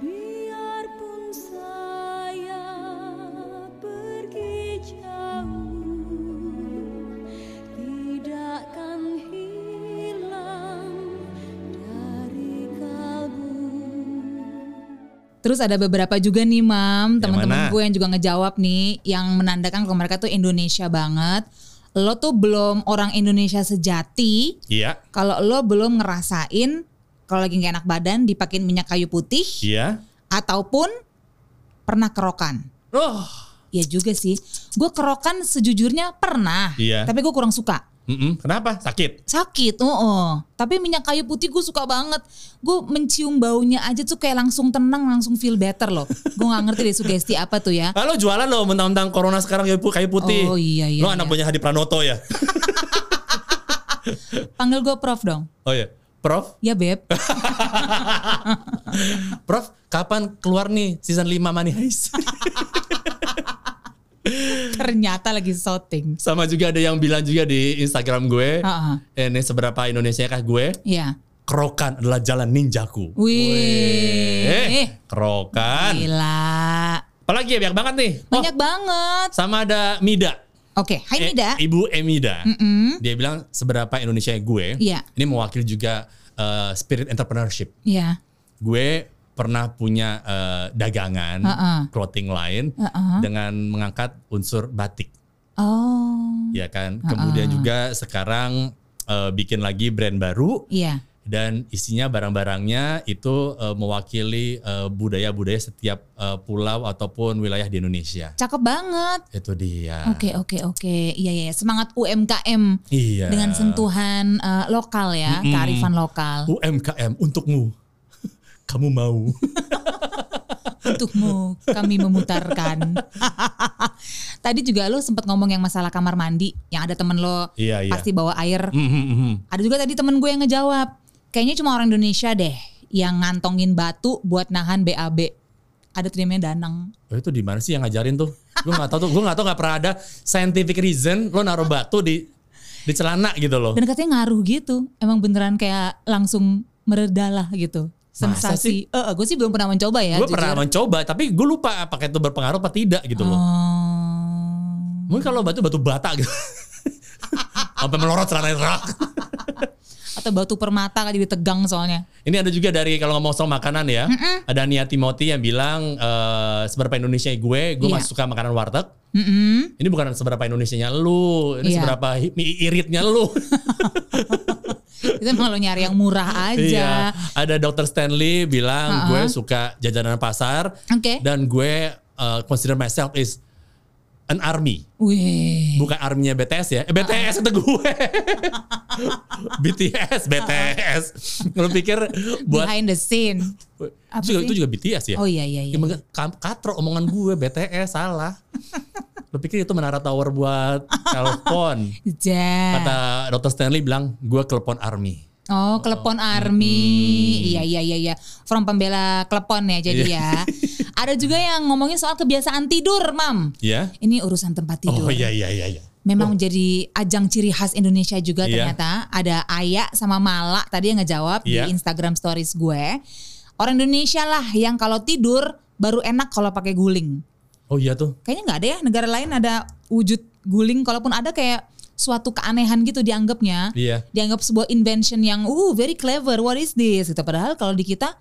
[SPEAKER 4] Biarpun saya pergi jauh Tidak akan hilang dari kalbu
[SPEAKER 3] Terus ada beberapa juga nih, Mam,
[SPEAKER 2] mana?
[SPEAKER 3] teman-teman gue yang juga ngejawab nih yang menandakan kalau mereka tuh Indonesia banget. Lo tuh belum orang Indonesia sejati
[SPEAKER 2] Iya,
[SPEAKER 3] kalau lo belum ngerasain kalau lagi nggak enak badan dipakein minyak kayu putih
[SPEAKER 2] iya.
[SPEAKER 3] ataupun pernah kerokan.
[SPEAKER 2] Oh,
[SPEAKER 3] Ya juga sih. Gue kerokan sejujurnya pernah,
[SPEAKER 2] Iya.
[SPEAKER 3] tapi gue kurang suka.
[SPEAKER 2] mm-mm. kenapa? Sakit.
[SPEAKER 3] Sakit, oh, tapi minyak kayu putih gue suka banget. Gue mencium baunya aja tuh kayak langsung tenang, langsung feel better loh. Gue nggak ngerti deh sugesti apa tuh ya.
[SPEAKER 2] Halo jualan Ah, lo mentang-mentang corona sekarang kayu pu- kayu putih.
[SPEAKER 3] Oh, iya, iya,
[SPEAKER 2] Lo anak
[SPEAKER 3] iya.
[SPEAKER 2] punya Hadi Pranoto ya?
[SPEAKER 3] Panggil gue Prof dong.
[SPEAKER 2] Oh iya. Prof,
[SPEAKER 3] Ya beb. (laughs)
[SPEAKER 2] Prof, kapan keluar nih season 5 Money Heist? (laughs)
[SPEAKER 3] Ternyata lagi shooting.
[SPEAKER 2] Sama juga ada yang bilang juga di Instagram gue.
[SPEAKER 3] Ha-ha.
[SPEAKER 2] Ini seberapa Indonesia kah gue?
[SPEAKER 3] Ya.
[SPEAKER 2] Kerokan adalah jalan ninjaku.
[SPEAKER 3] Wih.
[SPEAKER 2] Eh, kerokan.
[SPEAKER 3] Gila. Nah,
[SPEAKER 2] Apalagi ya banyak banget nih. Oh,
[SPEAKER 3] Banyak banget.
[SPEAKER 2] sama ada Mida.
[SPEAKER 3] Oke, hai
[SPEAKER 2] Eh,
[SPEAKER 3] Nida. Hmm.
[SPEAKER 2] Ibu Emida. Dia bilang seberapa Indonesia ya gue.
[SPEAKER 3] Iya.
[SPEAKER 2] Ini mewakili juga eh, spirit entrepreneurship.
[SPEAKER 3] Iya.
[SPEAKER 2] Gue pernah punya eh, dagangan
[SPEAKER 3] Ha-ha.
[SPEAKER 2] clothing line
[SPEAKER 3] Ha-ha.
[SPEAKER 2] dengan mengangkat unsur batik,
[SPEAKER 3] Oh.
[SPEAKER 2] ya kan. Kemudian juga sekarang eh, bikin lagi brand baru
[SPEAKER 3] Iya.
[SPEAKER 2] dan isinya barang-barangnya itu eh, mewakili eh, budaya-budaya setiap eh, pulau ataupun wilayah di Indonesia.
[SPEAKER 3] Cakep banget.
[SPEAKER 2] Itu dia.
[SPEAKER 3] Oke, oke, oke. Iya, iya. Semangat UMKM
[SPEAKER 2] Iya.
[SPEAKER 3] dengan sentuhan eh, lokal ya, kearifan lokal.
[SPEAKER 2] UMKM untukmu. (laughs) Kamu mau.
[SPEAKER 3] untukmu kami memutarkan. (laughs) Tadi juga lo sempat ngomong yang masalah kamar mandi, yang ada temen lo
[SPEAKER 2] Iya, iya.
[SPEAKER 3] pasti bawa air.
[SPEAKER 2] Mhm, mhm.
[SPEAKER 3] Ada juga tadi temen gue yang ngejawab, kayaknya cuma orang Indonesia deh yang ngantongin batu buat nahan BAB. Ada tuh namanya Danang.
[SPEAKER 2] Oh, itu di mana sih yang ngajarin tuh? Gue nggak tahu tuh. Gue nggak tahu nggak pernah ada scientific reason lo naruh batu di di celana gitu loh.
[SPEAKER 3] Dan katanya ngaruh gitu, emang beneran kayak langsung meredalah gitu.
[SPEAKER 2] Masa
[SPEAKER 3] Sensasi. Eh, eh, gue sih belum pernah mencoba ya.
[SPEAKER 2] Gue
[SPEAKER 3] jujur.
[SPEAKER 2] pernah mencoba tapi gue lupa apakah itu berpengaruh apa tidak gitu loh.
[SPEAKER 3] Oh.
[SPEAKER 2] Mungkin kalau batu batu bata
[SPEAKER 3] (laughs)
[SPEAKER 2] gitu. Sampai melorot celana rak.
[SPEAKER 3] Atau batu permata kali ditegang soalnya.
[SPEAKER 2] Ini ada juga dari kalau ngomong soal makanan ya. Ada Nia Timothy yang bilang eh, seberapa Indonesia gue, gue
[SPEAKER 3] Iya.
[SPEAKER 2] masih suka makanan warteg.
[SPEAKER 3] Mm-mm.
[SPEAKER 2] Ini bukan seberapa Indonesianya lu, ini
[SPEAKER 3] Iya.
[SPEAKER 2] seberapa hi- iritnya lu.
[SPEAKER 3] Itu emang lo nyari yang
[SPEAKER 2] Iya.
[SPEAKER 3] murah (laughs) aja.
[SPEAKER 2] Ada Dr. Stanley bilang gue suka jajanan pasar
[SPEAKER 3] Oke.
[SPEAKER 2] dan gue uh, consider myself is an army.
[SPEAKER 3] Wih.
[SPEAKER 2] Bukan arminya BTS ya. Eh, BTS itu gue. (laughs) BTS, BTS. Lu pikir buat
[SPEAKER 3] Behind the scene. Apa
[SPEAKER 2] itu juga,
[SPEAKER 3] sih?
[SPEAKER 2] itu juga BTS ya?
[SPEAKER 3] Oh iya iya iya.
[SPEAKER 2] Ya, maka kam- katro omongan gue BTS
[SPEAKER 3] (laughs)
[SPEAKER 2] salah. Lu pikir itu menara tower buat telepon?
[SPEAKER 3] Ja.
[SPEAKER 2] Kata Dr. Stanley bilang gue telepon army.
[SPEAKER 3] Oh, klepon army.
[SPEAKER 2] Hmm.
[SPEAKER 3] Iya iya iya iya. From pembela klepon ya jadi
[SPEAKER 2] Iya.
[SPEAKER 3] ya. Ada juga yang ngomongin soal kebiasaan tidur, Mam.
[SPEAKER 2] Ya.
[SPEAKER 3] Ini urusan tempat tidur.
[SPEAKER 2] Oh iya iya iya iya.
[SPEAKER 3] Memang menjadi ajang ciri khas Indonesia juga
[SPEAKER 2] Iya.
[SPEAKER 3] ternyata. Ada Aya sama Mala tadi yang ngejawab
[SPEAKER 2] Iya.
[SPEAKER 3] di Instagram stories gue. Orang Indonesia lah yang kalau tidur baru enak kalau pakai guling.
[SPEAKER 2] Oh iya tuh.
[SPEAKER 3] kayaknya nggak ada ya negara lain ada wujud guling kalaupun ada kayak suatu keanehan gitu dianggapnya
[SPEAKER 2] Iya.
[SPEAKER 3] dianggap sebuah invention yang uh very clever what is this gitu padahal kalau di kita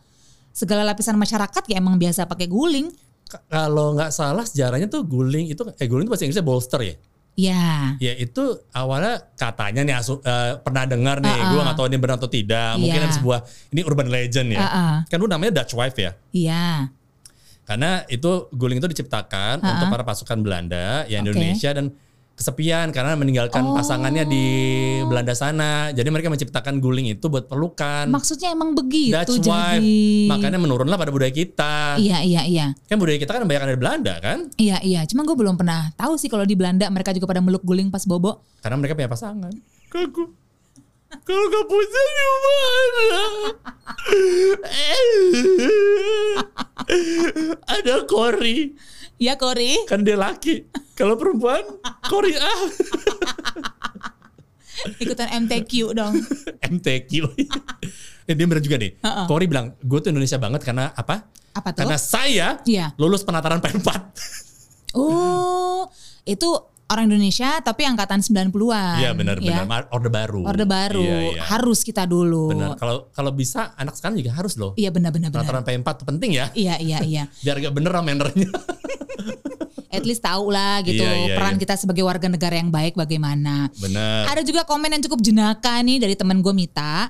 [SPEAKER 3] segala lapisan masyarakat ya emang biasa pakai guling
[SPEAKER 2] K- kalau nggak salah sejarahnya tuh guling itu eh guling itu bahasa Inggrisnya bolster ya.
[SPEAKER 3] ya
[SPEAKER 2] Ya itu awalnya katanya nih asu- eh, pernah dengar nih,
[SPEAKER 3] Ah, ah.
[SPEAKER 2] gue nggak tahu ini benar atau tidak. Mungkin
[SPEAKER 3] Iya.
[SPEAKER 2] ada sebuah ini urban legend ya.
[SPEAKER 3] Ah, ah.
[SPEAKER 2] Kan lu namanya Dutch wife ya.
[SPEAKER 3] iya
[SPEAKER 2] Karena itu guling itu diciptakan untuk para pasukan Belanda ya
[SPEAKER 3] Eh, Oke.
[SPEAKER 2] Indonesia dan kesepian karena meninggalkan pasangannya di
[SPEAKER 3] Oh.
[SPEAKER 2] Belanda sana. Jadi mereka menciptakan guling itu buat pelukan.
[SPEAKER 3] maksudnya emang begitu
[SPEAKER 2] Dutch wife.
[SPEAKER 3] jadi
[SPEAKER 2] Makanya menurunlah pada budaya kita.
[SPEAKER 3] iya iya iya
[SPEAKER 2] Kan budaya kita kan banyak ada di Belanda kan?
[SPEAKER 3] iya iya cuma gue belum pernah tahu sih kalau di Belanda mereka juga pada meluk guling pas bobo
[SPEAKER 2] Karena mereka punya pasangan. Kaku. Kalau gak punya gimana? Eh. Ada Kori.
[SPEAKER 3] ya Kori
[SPEAKER 2] Kan dia laki. Kalau perempuan, Kori (laughs) ah.
[SPEAKER 3] ikutan MTQ dong
[SPEAKER 2] MTQ. Eh, dia bener juga nih. Kori bilang, gue tuh Indonesia banget karena apa?
[SPEAKER 3] apa tuh
[SPEAKER 2] Karena saya
[SPEAKER 3] Iya.
[SPEAKER 2] lulus penataran P4.
[SPEAKER 3] Oh, itu orang Indonesia tapi angkatan 90-an.
[SPEAKER 2] Iya benar-benar.
[SPEAKER 3] ya.
[SPEAKER 2] Orde baru.
[SPEAKER 3] Orde baru.
[SPEAKER 2] Iya, iya.
[SPEAKER 3] Harus kita dulu.
[SPEAKER 2] Benar. Kalau kalau bisa anak sekarang juga harus loh.
[SPEAKER 3] Iya benar benar benar.
[SPEAKER 2] Penataran P4 tuh penting ya.
[SPEAKER 3] Iya iya iya.
[SPEAKER 2] biar gak bener lah mannernya.
[SPEAKER 3] At least tahu lah gitu
[SPEAKER 2] Iya, iya,
[SPEAKER 3] peran
[SPEAKER 2] iya.
[SPEAKER 3] kita sebagai warga negara yang baik bagaimana.
[SPEAKER 2] Bener.
[SPEAKER 3] Ada juga komen yang cukup jenaka nih dari teman gue Mita.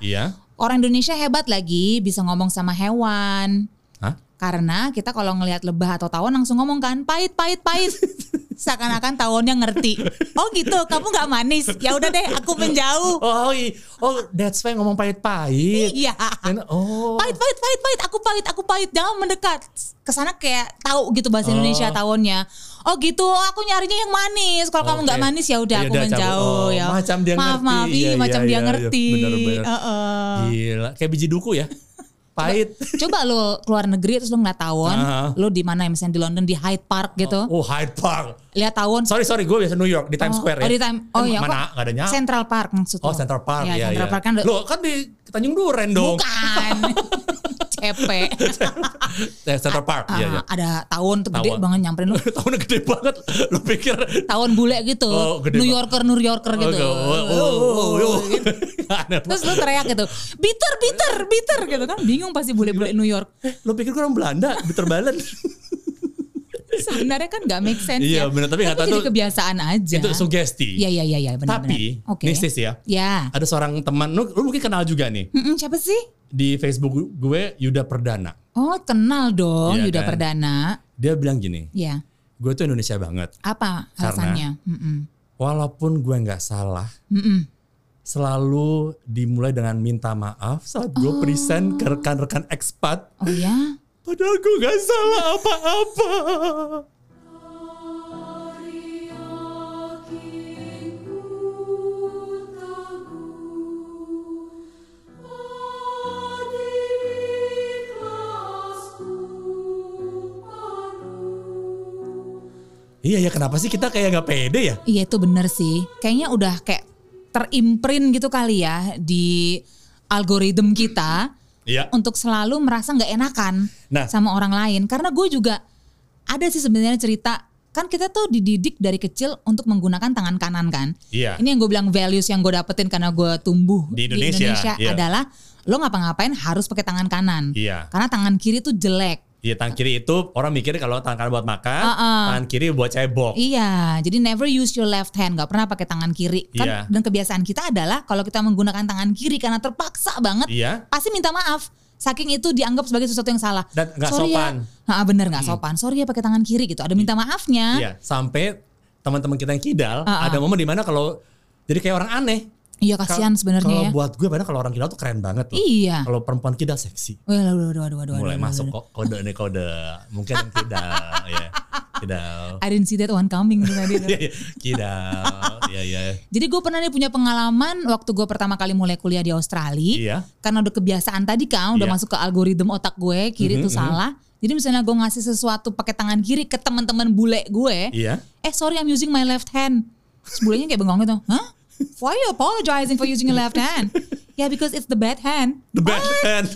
[SPEAKER 2] (laughs) Iya.
[SPEAKER 3] Orang Indonesia hebat lagi bisa ngomong sama hewan.
[SPEAKER 2] Hah?
[SPEAKER 3] Karena kita kalau ngelihat lebah atau tawon langsung ngomong kan pahit pahit
[SPEAKER 2] (laughs)
[SPEAKER 3] pahit. Seakan-akan tawonnya ngerti. Oh gitu, kamu nggak manis. Ya udah deh, aku menjauh.
[SPEAKER 2] Oh, i- oh, that's why ngomong pahit-pahit.
[SPEAKER 3] Iya.
[SPEAKER 2] Dan- oh.
[SPEAKER 3] Pahit, pahit, pahit, pahit. Aku pahit, aku pahit. Jangan mendekat. Kesana kayak tahu gitu bahasa
[SPEAKER 2] Oh.
[SPEAKER 3] Indonesia tahunnya. Oh gitu. oh, Aku nyarinya yang manis. Kalau kamu
[SPEAKER 2] Oke.
[SPEAKER 3] nggak manis ya udah
[SPEAKER 2] Ya
[SPEAKER 3] aku
[SPEAKER 2] udah, cabut.
[SPEAKER 3] menjauh.
[SPEAKER 2] Oh,
[SPEAKER 3] ya.
[SPEAKER 2] macam dia
[SPEAKER 3] maaf,
[SPEAKER 2] ngerti.
[SPEAKER 3] Maaf, iya,
[SPEAKER 2] Iya,
[SPEAKER 3] macam
[SPEAKER 2] iya,
[SPEAKER 3] dia
[SPEAKER 2] iya.
[SPEAKER 3] ngerti.
[SPEAKER 2] Benar, benar.
[SPEAKER 3] Heeh. (laughs)
[SPEAKER 2] Gila, kayak biji duku ya. Pahit.
[SPEAKER 3] Coba lo keluar negeri terus lo ngeliat tawon,
[SPEAKER 2] Aha.
[SPEAKER 3] lo di mana ya misalnya di London di Hyde Park gitu.
[SPEAKER 2] Oh Hyde Park.
[SPEAKER 3] Lihat tawon.
[SPEAKER 2] Sorry sorry, gue biasa New York di Times
[SPEAKER 3] oh,
[SPEAKER 2] Square ya.
[SPEAKER 3] Oh, di time, oh
[SPEAKER 2] Kan
[SPEAKER 3] iya.
[SPEAKER 2] Mana
[SPEAKER 3] kok
[SPEAKER 2] gak ada nyala.
[SPEAKER 3] Central Park maksud
[SPEAKER 2] Oh
[SPEAKER 3] lo.
[SPEAKER 2] Central Park
[SPEAKER 3] Iya,
[SPEAKER 2] ya.
[SPEAKER 3] Central Park kan
[SPEAKER 2] Loh kan di Tanjung Duren dong. (laughs)
[SPEAKER 3] bukan. Cepet.
[SPEAKER 2] Eh, Central Park.
[SPEAKER 3] Ah,
[SPEAKER 2] Iya iya.
[SPEAKER 3] Ada tawon tuh gede
[SPEAKER 2] Tawon.
[SPEAKER 3] banget nyamperin lo.
[SPEAKER 2] (laughs) Tahunnya gede banget. Lu pikir
[SPEAKER 3] Tawon bule gitu.
[SPEAKER 2] Oh, gede
[SPEAKER 3] New
[SPEAKER 2] banget.
[SPEAKER 3] Yorker, New Yorker gitu.
[SPEAKER 2] Oh, oh, oh, oh, oh. (laughs) Aneh
[SPEAKER 3] Terus
[SPEAKER 2] banget.
[SPEAKER 3] lu teriak gitu, bitter, bitter, bitter gitu kan. Bingung pasti bule-bule New York.
[SPEAKER 2] Lu pikir gue orang Belanda, bitter
[SPEAKER 3] (laughs)
[SPEAKER 2] balance.
[SPEAKER 3] Sebenarnya kan gak make sense
[SPEAKER 2] Iya,
[SPEAKER 3] ya.
[SPEAKER 2] bener, tapi nggak tahu
[SPEAKER 3] jadi
[SPEAKER 2] tuh-
[SPEAKER 3] kebiasaan aja.
[SPEAKER 2] Itu sugesti.
[SPEAKER 3] Iya, iya, iya, iya benar
[SPEAKER 2] Tapi,
[SPEAKER 3] benar. Oke.
[SPEAKER 2] nih sis ya.
[SPEAKER 3] Ya.
[SPEAKER 2] Ada seorang teman, lu, lu mungkin kenal juga nih.
[SPEAKER 3] Mm-mm, siapa sih?
[SPEAKER 2] Di Facebook gue, Yuda Perdana.
[SPEAKER 3] Oh, kenal dong
[SPEAKER 2] Iya
[SPEAKER 3] Yuda
[SPEAKER 2] kan?
[SPEAKER 3] Perdana.
[SPEAKER 2] Dia bilang gini,
[SPEAKER 3] Ya.
[SPEAKER 2] gue tuh Indonesia banget.
[SPEAKER 3] Apa alasannya? Mm-mm.
[SPEAKER 2] Walaupun gue nggak salah,
[SPEAKER 3] Mm-mm.
[SPEAKER 2] selalu dimulai dengan minta maaf saat gue present ke rekan-rekan ekspat.
[SPEAKER 3] Oh ya.
[SPEAKER 2] Padahal gue nggak salah apa-apa.
[SPEAKER 4] Oh,
[SPEAKER 2] Iya ya kenapa sih kita kayak nggak pede ya?
[SPEAKER 3] Iya itu bener sih. Kayaknya udah kayak terimprint gitu kali ya di algoritm kita
[SPEAKER 2] Iya.
[SPEAKER 3] untuk selalu merasa nggak enakan
[SPEAKER 2] Nah.
[SPEAKER 3] sama orang lain. Karena gue juga ada sih sebenarnya cerita kan kita tuh dididik dari kecil untuk menggunakan tangan kanan kan.
[SPEAKER 2] Iya.
[SPEAKER 3] Ini yang gue bilang values yang gue dapetin karena gue tumbuh
[SPEAKER 2] Di Indonesia, iya.
[SPEAKER 3] adalah lo ngapa-ngapain harus pakai tangan kanan.
[SPEAKER 2] Iya.
[SPEAKER 3] Karena tangan kiri tuh jelek.
[SPEAKER 2] Iya tangan kiri itu orang mikir kalau tangan kanan buat makan,
[SPEAKER 3] Uh-uh.
[SPEAKER 2] tangan kiri buat cebok.
[SPEAKER 3] Iya, jadi never use your left hand, nggak pernah pakai tangan kiri. Kan
[SPEAKER 2] Iya.
[SPEAKER 3] dan kebiasaan kita adalah kalau kita menggunakan tangan kiri karena terpaksa banget,
[SPEAKER 2] Iya.
[SPEAKER 3] pasti minta maaf. Saking itu dianggap sebagai sesuatu yang salah.
[SPEAKER 2] Dan nggak
[SPEAKER 3] Sorry
[SPEAKER 2] sopan. Hmm.
[SPEAKER 3] Ya. Ah, bener nggak sopan. Sorry ya pakai tangan kiri gitu. Ada minta maafnya.
[SPEAKER 2] Iya, sampai teman-teman kita yang kidal,
[SPEAKER 3] Uh-uh.
[SPEAKER 2] ada momen dimana kalau jadi kayak orang aneh.
[SPEAKER 3] Iya
[SPEAKER 2] Kal-
[SPEAKER 3] kasihan
[SPEAKER 2] Kalau
[SPEAKER 3] sebenarnya ya.
[SPEAKER 2] buat gue padahal kalau orang kidal tuh keren banget loh.
[SPEAKER 3] Iya.
[SPEAKER 2] Kalau perempuan kidal seksi.
[SPEAKER 3] Waduh, waduh, waduh, waduh, waduh,
[SPEAKER 2] Mulai
[SPEAKER 3] waduh,
[SPEAKER 2] masuk
[SPEAKER 3] waduh.
[SPEAKER 2] kok kode nih kode.
[SPEAKER 3] (laughs)
[SPEAKER 2] Mungkin yang kidal ya. Kidal.
[SPEAKER 3] I didn't see that one coming
[SPEAKER 2] (laughs)
[SPEAKER 3] tuh tadi.
[SPEAKER 2] Iya, iya. kidal. Iya, iya.
[SPEAKER 3] Jadi gue pernah nih punya pengalaman waktu gue pertama kali mulai kuliah di Australia.
[SPEAKER 2] Iya.
[SPEAKER 3] Karena udah kebiasaan tadi kan,
[SPEAKER 2] Iya.
[SPEAKER 3] udah
[SPEAKER 2] Mm-hmm,
[SPEAKER 3] masuk ke algoritma otak gue kiri itu salah. Jadi misalnya gue ngasih sesuatu pakai tangan kiri ke teman-teman bule gue.
[SPEAKER 2] Iya.
[SPEAKER 3] Eh sorry I'm using my left hand. Terus bulenya kayak bengong gitu. Hah? Why are you apologizing for using your left hand? (laughs) Ya yeah, because it's the bad hand.
[SPEAKER 2] The bad hand.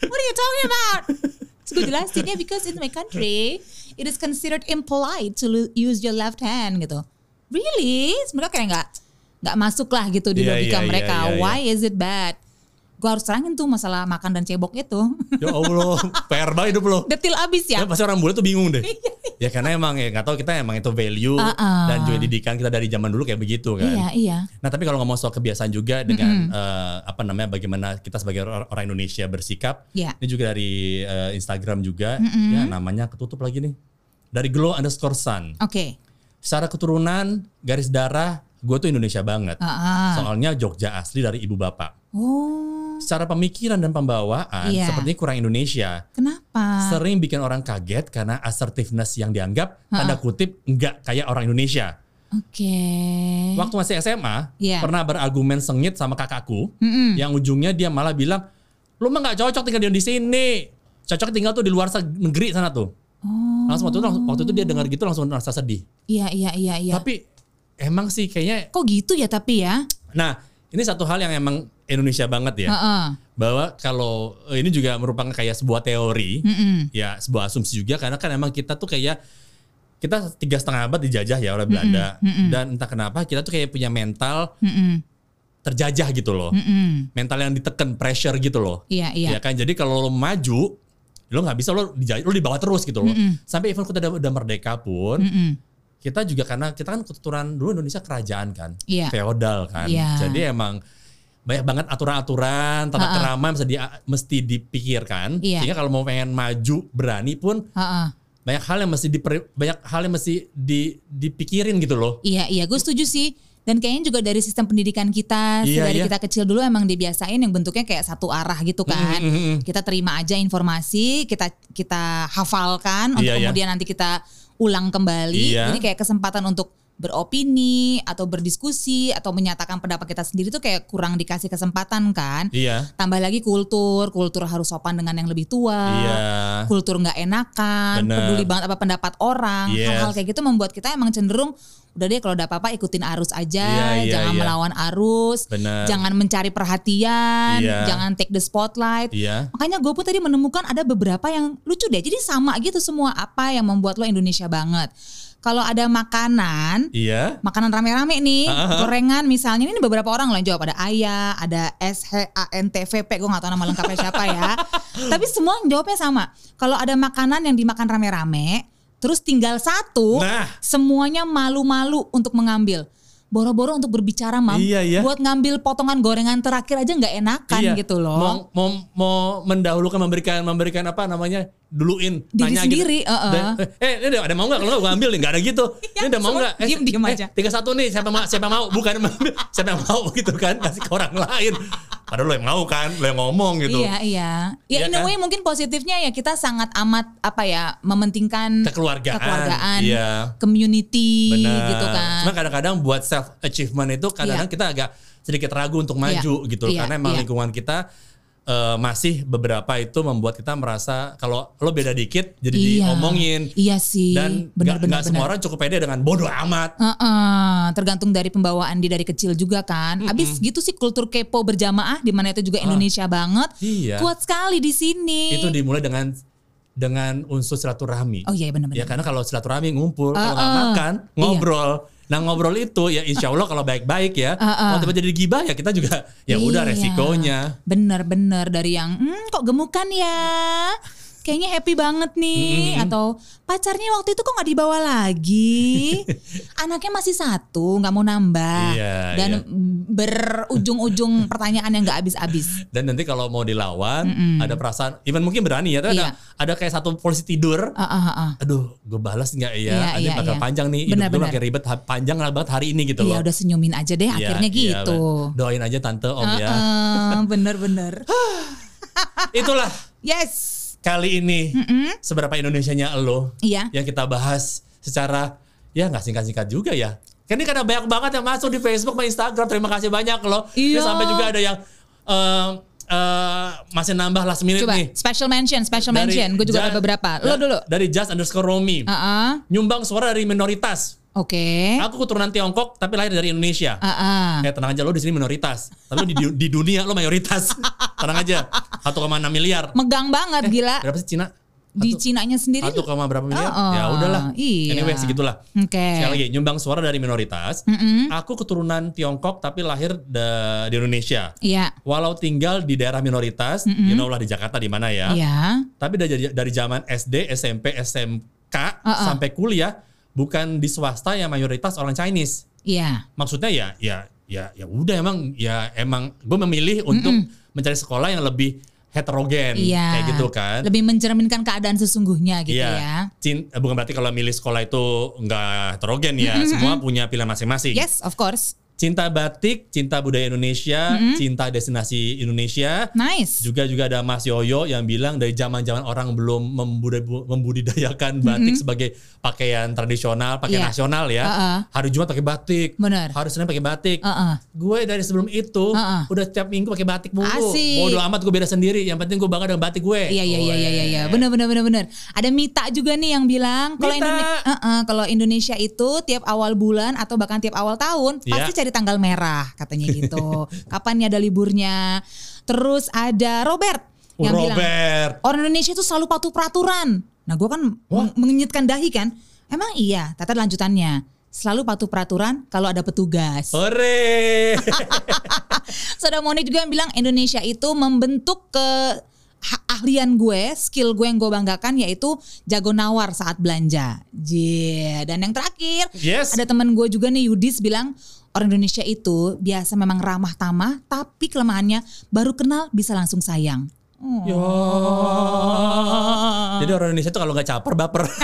[SPEAKER 3] What are you talking about? Terus gue jelasin ya because in my country it is considered impolite to lu- use your left hand gitu. Really? Mereka kayak nggak nggak masuk lah gitu di
[SPEAKER 2] Iya,
[SPEAKER 3] logika
[SPEAKER 2] iya, iya,
[SPEAKER 3] mereka.
[SPEAKER 2] iya, iya.
[SPEAKER 3] Why is it bad? Gue harus terangin tuh masalah makan dan cebok itu. (laughs)
[SPEAKER 2] ya Allah, PR banget hidup lo.
[SPEAKER 3] Detil abis ya.
[SPEAKER 2] Ya,
[SPEAKER 3] Iya,
[SPEAKER 2] pasti orang bule tuh bingung
[SPEAKER 3] (laughs)
[SPEAKER 2] deh. ya karena emang ya nggak tahu kita emang itu value
[SPEAKER 3] Uh-uh.
[SPEAKER 2] dan juga didikan kita dari zaman dulu kayak begitu kan.
[SPEAKER 3] Iya iya.
[SPEAKER 2] Nah tapi kalau ngomong soal kebiasaan juga dengan eh, apa namanya bagaimana kita sebagai or- orang Indonesia bersikap,
[SPEAKER 3] Iya.
[SPEAKER 2] ini juga dari eh, Instagram juga, ya namanya ketutup lagi nih dari glow underscore sun.
[SPEAKER 3] Oke.
[SPEAKER 2] Secara keturunan garis darah gue tuh Indonesia banget,
[SPEAKER 3] Ah, ah.
[SPEAKER 2] soalnya Jogja asli dari ibu bapak.
[SPEAKER 3] Oh
[SPEAKER 2] Secara pemikiran dan pembawaan
[SPEAKER 3] Iya. Ah.
[SPEAKER 2] sepertinya kurang Indonesia.
[SPEAKER 3] kenapa?
[SPEAKER 2] Sering bikin orang kaget karena assertiveness yang dianggap
[SPEAKER 3] Ah.
[SPEAKER 2] tanda kutip nggak kayak orang Indonesia.
[SPEAKER 3] Oke.
[SPEAKER 2] Waktu masih SMA,
[SPEAKER 3] Eh? Iya.
[SPEAKER 2] pernah berargumen sengit sama kakakku, yang ujungnya dia malah bilang, "Lu mah nggak cocok tinggal di di sini, cocok tinggal tuh di luar seg- negeri sana tuh."
[SPEAKER 3] Oh.
[SPEAKER 2] Langsung waktu itu, waktu itu dia dengar gitu langsung merasa sedih.
[SPEAKER 3] Iya iya iya iya.
[SPEAKER 2] Tapi emang sih kayaknya,
[SPEAKER 3] Kok gitu ya tapi ya?
[SPEAKER 2] nah ini satu hal yang emang Indonesia banget ya,
[SPEAKER 3] Heeh.
[SPEAKER 2] bahwa kalau eh, ini juga merupakan kayak sebuah teori,
[SPEAKER 3] Hmm.
[SPEAKER 2] ya sebuah asumsi juga karena kan emang kita tuh kayak kita tiga setengah abad dijajah ya oleh Belanda dan entah kenapa kita tuh kayak punya mental
[SPEAKER 3] Mm-mm.
[SPEAKER 2] terjajah gitu loh.
[SPEAKER 3] Mm-mm.
[SPEAKER 2] mental yang ditekan pressure gitu loh
[SPEAKER 3] Iya iya.
[SPEAKER 2] ya kan jadi kalau lo maju lo nggak bisa lo dija- lo dibawa terus gitu loh sampai even kita udah, udah merdeka pun
[SPEAKER 3] Mm-mm.
[SPEAKER 2] kita juga karena kita kan keturunan dulu Indonesia kerajaan kan
[SPEAKER 3] Iya.
[SPEAKER 2] feodal kan
[SPEAKER 3] Iya.
[SPEAKER 2] jadi emang banyak banget aturan-aturan tata
[SPEAKER 3] Ha-ha.
[SPEAKER 2] kerama yang mesti, dia- mesti dipikirkan
[SPEAKER 3] Iya.
[SPEAKER 2] sehingga kalau mau pengen maju berani pun
[SPEAKER 3] Heeh.
[SPEAKER 2] banyak hal yang mesti diper- banyak hal yang mesti di- dipikirin gitu loh
[SPEAKER 3] Iya iya, gue setuju sih. Dan kayaknya juga dari sistem pendidikan kita
[SPEAKER 2] Iya,
[SPEAKER 3] dari
[SPEAKER 2] iya.
[SPEAKER 3] kita kecil dulu emang dibiasain yang bentuknya kayak satu arah gitu kan.
[SPEAKER 2] Mm, mm, mm.
[SPEAKER 3] Kita terima aja informasi, kita kita hafalkan untuk
[SPEAKER 2] Iya, iya.
[SPEAKER 3] kemudian nanti kita ulang kembali.
[SPEAKER 2] Iya.
[SPEAKER 3] Jadi kayak kesempatan untuk beropini atau berdiskusi atau menyatakan pendapat kita sendiri tuh kayak kurang dikasih kesempatan kan.
[SPEAKER 2] Iya.
[SPEAKER 3] Tambah lagi kultur, kultur harus sopan dengan yang lebih tua.
[SPEAKER 2] Iya.
[SPEAKER 3] Kultur nggak enakan,
[SPEAKER 2] Bener.
[SPEAKER 3] peduli banget apa pendapat orang.
[SPEAKER 2] Yes.
[SPEAKER 3] Hal-hal kayak gitu membuat kita emang cenderung udah deh kalau udah apa-apa ikutin arus aja,
[SPEAKER 2] Iya, iya,
[SPEAKER 3] jangan
[SPEAKER 2] iya.
[SPEAKER 3] melawan arus,
[SPEAKER 2] Bener.
[SPEAKER 3] jangan mencari perhatian,
[SPEAKER 2] Iya.
[SPEAKER 3] jangan take the spotlight.
[SPEAKER 2] Iya.
[SPEAKER 3] Makanya gue pun tadi menemukan ada beberapa yang lucu deh. Jadi sama gitu semua apa yang membuat lo Indonesia banget. Kalau ada makanan,
[SPEAKER 2] Iya.
[SPEAKER 3] makanan rame-rame nih,
[SPEAKER 2] Ah, ah, ah.
[SPEAKER 3] gorengan misalnya ini beberapa orang loh yang jawab ada ayah, ada S H A N T V P, gue nggak tahu nama lengkapnya siapa
[SPEAKER 2] (laughs)
[SPEAKER 3] ya. Tapi semua yang jawabnya sama. Kalau ada makanan yang dimakan rame-rame, terus tinggal satu,
[SPEAKER 2] Nah.
[SPEAKER 3] semuanya malu-malu untuk mengambil. Boro-boro untuk berbicara mam,
[SPEAKER 2] Iya, iya.
[SPEAKER 3] buat ngambil potongan gorengan terakhir aja nggak enakan
[SPEAKER 2] iya.
[SPEAKER 3] gitu loh.
[SPEAKER 2] Mau, mau, mau mendahulukan memberikan memberikan apa namanya duluin
[SPEAKER 3] Diri
[SPEAKER 2] nanya
[SPEAKER 3] sendiri, Ya,
[SPEAKER 2] gitu.
[SPEAKER 3] uh-uh.
[SPEAKER 2] Dan, eh ini ada, ada mau nggak kalau nggak gue ambil nih nggak ada
[SPEAKER 3] (laughs)
[SPEAKER 2] gitu ini ada mau
[SPEAKER 3] semua
[SPEAKER 2] nggak eh,
[SPEAKER 3] diem-diem
[SPEAKER 2] eh,
[SPEAKER 3] aja.
[SPEAKER 2] tiga satu nih siapa mau siapa mau bukan (laughs) yang ambil, siapa yang mau gitu kan kasih ke orang lain padahal lo yang mau kan lo yang ngomong gitu
[SPEAKER 3] Iya iya. Ya
[SPEAKER 2] Iya
[SPEAKER 3] in
[SPEAKER 2] kan?
[SPEAKER 3] a way mungkin positifnya ya kita sangat amat apa ya mementingkan
[SPEAKER 2] Kekeluargaan,
[SPEAKER 3] kekeluargaan,
[SPEAKER 2] iya.
[SPEAKER 3] community
[SPEAKER 2] Benar.
[SPEAKER 3] gitu kan.
[SPEAKER 2] Cuma kadang-kadang buat self achievement itu kadang-kadang
[SPEAKER 3] Iya.
[SPEAKER 2] kita agak sedikit ragu untuk maju
[SPEAKER 3] Iya.
[SPEAKER 2] gitu
[SPEAKER 3] Iya,
[SPEAKER 2] karena emang
[SPEAKER 3] iya.
[SPEAKER 2] lingkungan kita eh, masih beberapa itu membuat kita merasa kalau lo beda dikit jadi
[SPEAKER 3] Iya.
[SPEAKER 2] diomongin
[SPEAKER 3] Iya sih.
[SPEAKER 2] dan nggak
[SPEAKER 3] benar-benar
[SPEAKER 2] nggak semua orang cukup pede dengan bodoh amat.
[SPEAKER 3] Heeh, tergantung dari pembawaan dia dari kecil juga kan. Abis gitu sih kultur kepo berjamaah di mana itu juga Indonesia banget.
[SPEAKER 2] Ah. Iya.
[SPEAKER 3] Kuat sekali di sini.
[SPEAKER 2] Itu dimulai dengan dengan unsur silaturahmi.
[SPEAKER 3] Oh iya
[SPEAKER 2] Ya
[SPEAKER 3] benar-benar.
[SPEAKER 2] karena kalau silaturahmi ngumpul, kalau nggak
[SPEAKER 3] Ah, ah.
[SPEAKER 2] makan
[SPEAKER 3] Iya.
[SPEAKER 2] ngobrol. Nah ngobrol itu ya insya Allah kalau baik-baik ya,
[SPEAKER 3] Ah, ah.
[SPEAKER 2] kalau tiba-tiba jadi gibah ya kita juga ya udah
[SPEAKER 3] Iya.
[SPEAKER 2] resikonya.
[SPEAKER 3] Bener-bener dari yang hmm, kok gemukan ya. Kayaknya happy banget nih atau pacarnya waktu itu kok nggak dibawa
[SPEAKER 2] (laughs)
[SPEAKER 3] lagi. Anaknya masih satu, nggak mau nambah.
[SPEAKER 2] Iya,
[SPEAKER 3] Dan
[SPEAKER 2] iya.
[SPEAKER 3] berujung-ujung
[SPEAKER 2] (laughs)
[SPEAKER 3] pertanyaan yang nggak habis-habis.
[SPEAKER 2] Dan nanti kalau mau dilawan ada perasaan, even mungkin berani ya, tapi
[SPEAKER 3] Iya.
[SPEAKER 2] ada ada kayak satu posisi tidur.
[SPEAKER 3] Ah, ah, ah, ah.
[SPEAKER 2] Aduh, gue balas nggak ya?
[SPEAKER 3] Iya,
[SPEAKER 2] Ini
[SPEAKER 3] iya,
[SPEAKER 2] bakal
[SPEAKER 3] iya.
[SPEAKER 2] panjang nih, hidup
[SPEAKER 3] Benar,
[SPEAKER 2] gue
[SPEAKER 3] benar.
[SPEAKER 2] makin ribet, ha- panjang banget hari ini gitu
[SPEAKER 3] Iya
[SPEAKER 2] loh.
[SPEAKER 3] udah senyumin aja deh
[SPEAKER 2] Iya,
[SPEAKER 3] akhirnya
[SPEAKER 2] iya,
[SPEAKER 3] gitu. Ah,
[SPEAKER 2] bener. doain aja tante om ya.
[SPEAKER 3] Heeh, Bener-bener.
[SPEAKER 2] (laughs) Itulah
[SPEAKER 3] yes.
[SPEAKER 2] kali ini seberapa Indonesianya lo
[SPEAKER 3] Iya.
[SPEAKER 2] yang kita bahas secara ya nggak singkat-singkat juga ya. Karena ini karena banyak banget yang masuk di Facebook sama Instagram. Terima kasih banyak loh. Ini
[SPEAKER 3] Iya.
[SPEAKER 2] sampai juga ada yang eh, eh, masih nambah last minute
[SPEAKER 3] Coba
[SPEAKER 2] nih.
[SPEAKER 3] special mention, special
[SPEAKER 2] Dari
[SPEAKER 3] mention. Gue juga
[SPEAKER 2] Jas-
[SPEAKER 3] ada beberapa.
[SPEAKER 2] da-
[SPEAKER 3] Lo dulu.
[SPEAKER 2] Dari Just underscore Romi.
[SPEAKER 3] Ah, ah.
[SPEAKER 2] Nyumbang suara dari minoritas.
[SPEAKER 3] Oke.
[SPEAKER 2] Aku keturunan Tiongkok tapi lahir dari Indonesia.
[SPEAKER 3] Ah, ah.
[SPEAKER 2] Eh tenang aja lo di sini minoritas. Tapi lo di,
[SPEAKER 3] (laughs)
[SPEAKER 2] di dunia lo mayoritas. Tenang aja. 1,6 miliar.
[SPEAKER 3] Megang banget gila.
[SPEAKER 2] Berapa sih Cina? Eh,
[SPEAKER 3] Di
[SPEAKER 2] Satu-
[SPEAKER 3] Cinanya sendiri.
[SPEAKER 2] satu koma berapa miliar?
[SPEAKER 3] Oh,
[SPEAKER 2] ya udahlah.
[SPEAKER 3] iya.
[SPEAKER 2] Anyway segitulah.
[SPEAKER 3] Oke.
[SPEAKER 2] Sekali lagi nyumbang suara dari minoritas.
[SPEAKER 3] Mm-mm.
[SPEAKER 2] Aku keturunan Tiongkok tapi lahir da- di Indonesia.
[SPEAKER 3] Iya.
[SPEAKER 2] Walau tinggal di daerah minoritas, you know lah di Jakarta di mana ya.
[SPEAKER 3] Iya.
[SPEAKER 2] Tapi dari dari zaman SD, SMP, SMK
[SPEAKER 3] Uh-uh.
[SPEAKER 2] sampai kuliah bukan di swasta yang mayoritas orang Chinese.
[SPEAKER 3] Iya.
[SPEAKER 2] Maksudnya ya ya ya ya udah emang ya emang gue memilih untuk mencari sekolah yang lebih heterogen
[SPEAKER 3] Iya.
[SPEAKER 2] kayak gitu kan.
[SPEAKER 3] Lebih mencerminkan keadaan sesungguhnya gitu
[SPEAKER 2] Iya. Cin- eh, bukan berarti kalau milih sekolah itu nggak heterogen ya. Semua punya pilihan masing-masing.
[SPEAKER 3] ya. Yes, of course.
[SPEAKER 2] Cinta batik, cinta budaya Indonesia, cinta destinasi Indonesia.
[SPEAKER 3] Nice.
[SPEAKER 2] Juga juga ada Mas Yoyo yang bilang dari zaman-zaman orang belum membudaya- membudidayakan batik sebagai pakaian tradisional, pakaian
[SPEAKER 3] Mm-hmm. Iya.
[SPEAKER 2] nasional ya.
[SPEAKER 3] Uh-uh.
[SPEAKER 2] Hari Jumat pakai batik.
[SPEAKER 3] Benar.
[SPEAKER 2] Hari Senin pakai batik.
[SPEAKER 3] Heeh.
[SPEAKER 2] Gue dari sebelum itu
[SPEAKER 3] Uh-uh.
[SPEAKER 2] udah tiap minggu pakai batik mulu.
[SPEAKER 3] Asik.
[SPEAKER 2] Bodoh amat gue beda sendiri. Yang penting gue bangga dengan batik gue.
[SPEAKER 3] Iya iya iya iya iya iya.
[SPEAKER 2] Weh.
[SPEAKER 3] Benar benar benar benar. Ada Mita juga nih yang bilang kalau
[SPEAKER 2] Mita.
[SPEAKER 3] Indonesia kalau Indonesia itu tiap awal bulan atau bahkan tiap awal tahun
[SPEAKER 2] Iya.
[SPEAKER 3] pasti cari tanggal merah katanya
[SPEAKER 2] (laughs)
[SPEAKER 3] gitu. Kapan nih ada liburnya? Terus ada Robert yang bilang
[SPEAKER 2] Oh, Uh, Robert.
[SPEAKER 3] orang Indonesia itu selalu patuh peraturan. Nah, gua kan meng- mengenyitkan dahi kan. Emang iya, tata lanjutannya. Selalu patuh peraturan kalau ada petugas.
[SPEAKER 2] Oh.
[SPEAKER 3] (laughs)
[SPEAKER 2] Hore. (laughs)
[SPEAKER 3] Saudara Moni juga yang bilang Indonesia itu membentuk ke ahlian gue, skill gue yang gue banggakan yaitu jago nawar saat belanja. Yeah. Dan yang terakhir,
[SPEAKER 2] Yes.
[SPEAKER 3] ada teman gue juga nih Yudis bilang orang Indonesia itu biasa memang ramah tamah, tapi kelemahannya baru kenal bisa langsung sayang. Oh.
[SPEAKER 2] Yo. Jadi orang Indonesia tuh kalau nggak caper baper. (laughs)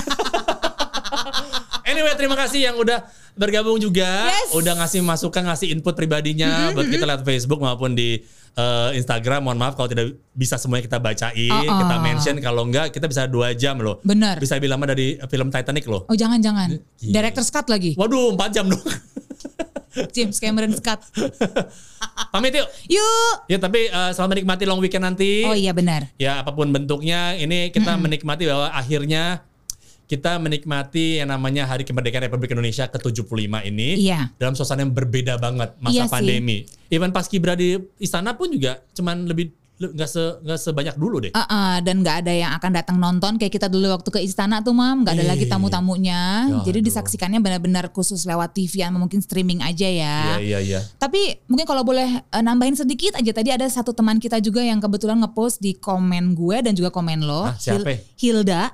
[SPEAKER 2] Anyway, terima kasih yang udah bergabung juga,
[SPEAKER 3] Yes. Mm-hmm,
[SPEAKER 2] udah ngasih masukan, ngasih input pribadinya buat kita lihat Facebook maupun di eh, Instagram. Mohon maaf kalau tidak bisa semuanya kita bacain,
[SPEAKER 3] Oh, oh.
[SPEAKER 2] kita mention. Kalau enggak kita bisa dua jam loh.
[SPEAKER 3] Bener.
[SPEAKER 2] Bisa lebih lama dari film Titanic loh.
[SPEAKER 3] Oh jangan jangan.
[SPEAKER 2] Iya.
[SPEAKER 3] Director's cut lagi.
[SPEAKER 2] Waduh, empat jam dong. (laughs)
[SPEAKER 3] James Cameron cut.
[SPEAKER 2] Pamit yuk.
[SPEAKER 3] Yuk.
[SPEAKER 2] Ya tapi eh, selamat menikmati long weekend nanti.
[SPEAKER 3] Oh iya benar.
[SPEAKER 2] Ya apapun bentuknya, ini kita menikmati bahwa akhirnya kita menikmati yang namanya Hari Kemerdekaan Republik Indonesia ke-75 ini
[SPEAKER 3] Iya.
[SPEAKER 2] dalam suasana yang berbeda banget masa
[SPEAKER 3] Iya sih.
[SPEAKER 2] pandemi. Even pas Kibra di istana pun juga cuman lebih le- nggak se nggak sebanyak dulu deh.
[SPEAKER 3] Uh-uh, dan nggak ada yang akan datang nonton kayak kita dulu waktu ke istana tuh mam nggak
[SPEAKER 2] Ih.
[SPEAKER 3] ada lagi tamu-tamunya
[SPEAKER 2] Iya, Ya,
[SPEAKER 3] jadi
[SPEAKER 2] aduh.
[SPEAKER 3] disaksikannya benar-benar khusus lewat TV atau mungkin streaming aja
[SPEAKER 2] Iya
[SPEAKER 3] ya
[SPEAKER 2] iya iya.
[SPEAKER 3] tapi mungkin kalau boleh eh, nambahin sedikit aja tadi ada satu teman kita juga yang kebetulan ngepost di komen gue dan juga komen lo
[SPEAKER 2] Ah, siapa?
[SPEAKER 3] Hil- Hilda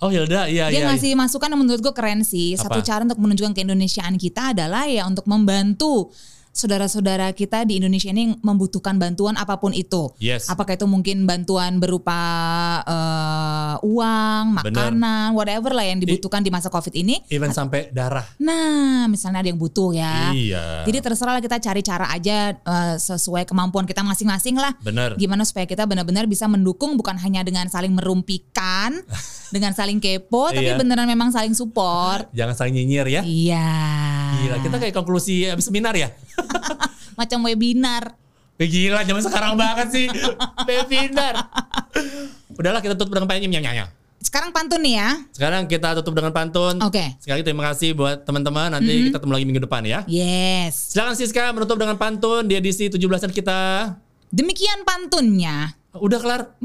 [SPEAKER 2] Oh Hilda iya
[SPEAKER 3] dia
[SPEAKER 2] iya.
[SPEAKER 3] ngasih masukan yang menurut gue keren sih. Satu
[SPEAKER 2] Apa?
[SPEAKER 3] cara untuk menunjukkan keindonesiaan kita adalah ya untuk membantu saudara-saudara kita di Indonesia ini membutuhkan bantuan apapun itu.
[SPEAKER 2] Yes.
[SPEAKER 3] Apakah itu mungkin bantuan berupa eh, uang, makanan, whatever lah yang dibutuhkan di masa Covid ini.
[SPEAKER 2] Even sampai darah.
[SPEAKER 3] Nah, misalnya ada yang butuh ya.
[SPEAKER 2] Iya.
[SPEAKER 3] Jadi terserah lah kita cari cara aja eh, sesuai kemampuan kita masing-masing lah.
[SPEAKER 2] Bener.
[SPEAKER 3] Gimana supaya kita benar-benar bisa mendukung bukan hanya dengan saling merumpikan,
[SPEAKER 2] (laughs)
[SPEAKER 3] dengan saling kepo, tapi
[SPEAKER 2] Iya.
[SPEAKER 3] beneran memang saling support.
[SPEAKER 2] Jangan saling nyinyir ya.
[SPEAKER 3] Iya.
[SPEAKER 2] Gila, kita kayak konklusi habis seminar ya.
[SPEAKER 3] Macam webinar.
[SPEAKER 2] Eh, Gila, zaman sekarang banget
[SPEAKER 3] (laughs)
[SPEAKER 2] sih. Webinar. Udahlah kita tutup dengan penyanyi nyanyi.
[SPEAKER 3] Sekarang pantun nih ya.
[SPEAKER 2] Sekarang kita tutup dengan pantun.
[SPEAKER 3] Oke. Mm-hmm.
[SPEAKER 2] Sekali lagi terima kasih buat teman-teman. Nanti kita ketemu lagi minggu depan ya.
[SPEAKER 3] Yes.
[SPEAKER 2] Silakan Siska menutup dengan pantun di edisi 17-an kita.
[SPEAKER 3] Demikian pantunnya.
[SPEAKER 2] Udah kelar? (laughs)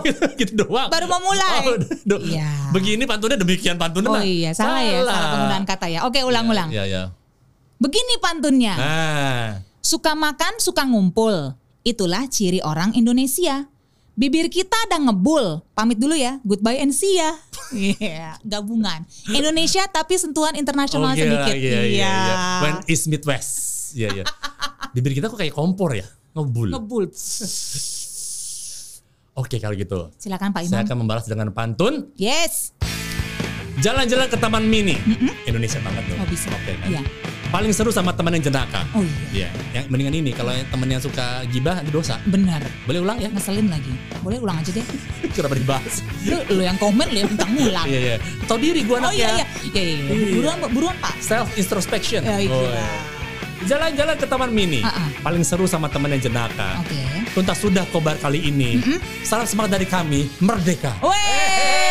[SPEAKER 2] Oh, gitu, gitu doang.
[SPEAKER 3] Baru mau mulai.
[SPEAKER 2] Oh, udah, do-
[SPEAKER 3] Iya.
[SPEAKER 2] Begini pantunnya demikian pantunnya.
[SPEAKER 3] Oh
[SPEAKER 2] Mbak.
[SPEAKER 3] iya, salah, ya, salah penggunaan kata ya. Oke, ulang-ulang.
[SPEAKER 2] Iya, iya.
[SPEAKER 3] Begini pantunnya.
[SPEAKER 2] Nah,
[SPEAKER 3] Suka makan, suka ngumpul. Itulah ciri orang Indonesia. Bibir kita ada ngebul. Pamit dulu ya. Goodbye and
[SPEAKER 2] (laughs)
[SPEAKER 3] see ya. Iya, gabungan. Indonesia tapi sentuhan
[SPEAKER 2] Oh,
[SPEAKER 3] internasional
[SPEAKER 2] gila,
[SPEAKER 3] sedikit.
[SPEAKER 2] Iya, iya, iya. When is Midwest. Iya, iya. Bibir kita kok kayak kompor ya? Ngebul.
[SPEAKER 3] Ngebul.
[SPEAKER 2] Oke, kalau gitu.
[SPEAKER 3] Silakan Pak Imam.
[SPEAKER 2] Saya akan membalas dengan pantun.
[SPEAKER 3] Yes.
[SPEAKER 2] Jalan-jalan ke Taman Mini. Indonesia banget tuh.
[SPEAKER 3] Oh, bisa.
[SPEAKER 2] Oke, kan?
[SPEAKER 3] Iya.
[SPEAKER 2] Paling seru sama teman yang jenaka.
[SPEAKER 3] Oh
[SPEAKER 2] Iya,
[SPEAKER 3] iya.
[SPEAKER 2] yang mendingan ini kalau yang temen yang suka gibah itu dosa.
[SPEAKER 3] Benar.
[SPEAKER 2] Boleh ulang ya? (laughs)
[SPEAKER 3] Ngeselin lagi. Boleh ulang aja deh.
[SPEAKER 2] Kenapa dibahas?
[SPEAKER 3] Lu, lu yang komen lu yang minta ngulang.
[SPEAKER 2] Iya, iya. Tahu diri gua
[SPEAKER 3] Oh iya
[SPEAKER 2] anaknya.
[SPEAKER 3] iya. Iya iya. iya.
[SPEAKER 2] Iya.
[SPEAKER 3] Buruan Pak, buruan Pak.
[SPEAKER 2] Self introspection.
[SPEAKER 3] Ya, iya.
[SPEAKER 2] Oh, iya. Jalan-jalan ke taman mini.
[SPEAKER 3] Ah, ah.
[SPEAKER 2] Paling seru sama temen yang jenaka.
[SPEAKER 3] Oke.
[SPEAKER 2] Tuntas sudah kobar kali ini. Salam semangat dari kami, merdeka.
[SPEAKER 3] Weh.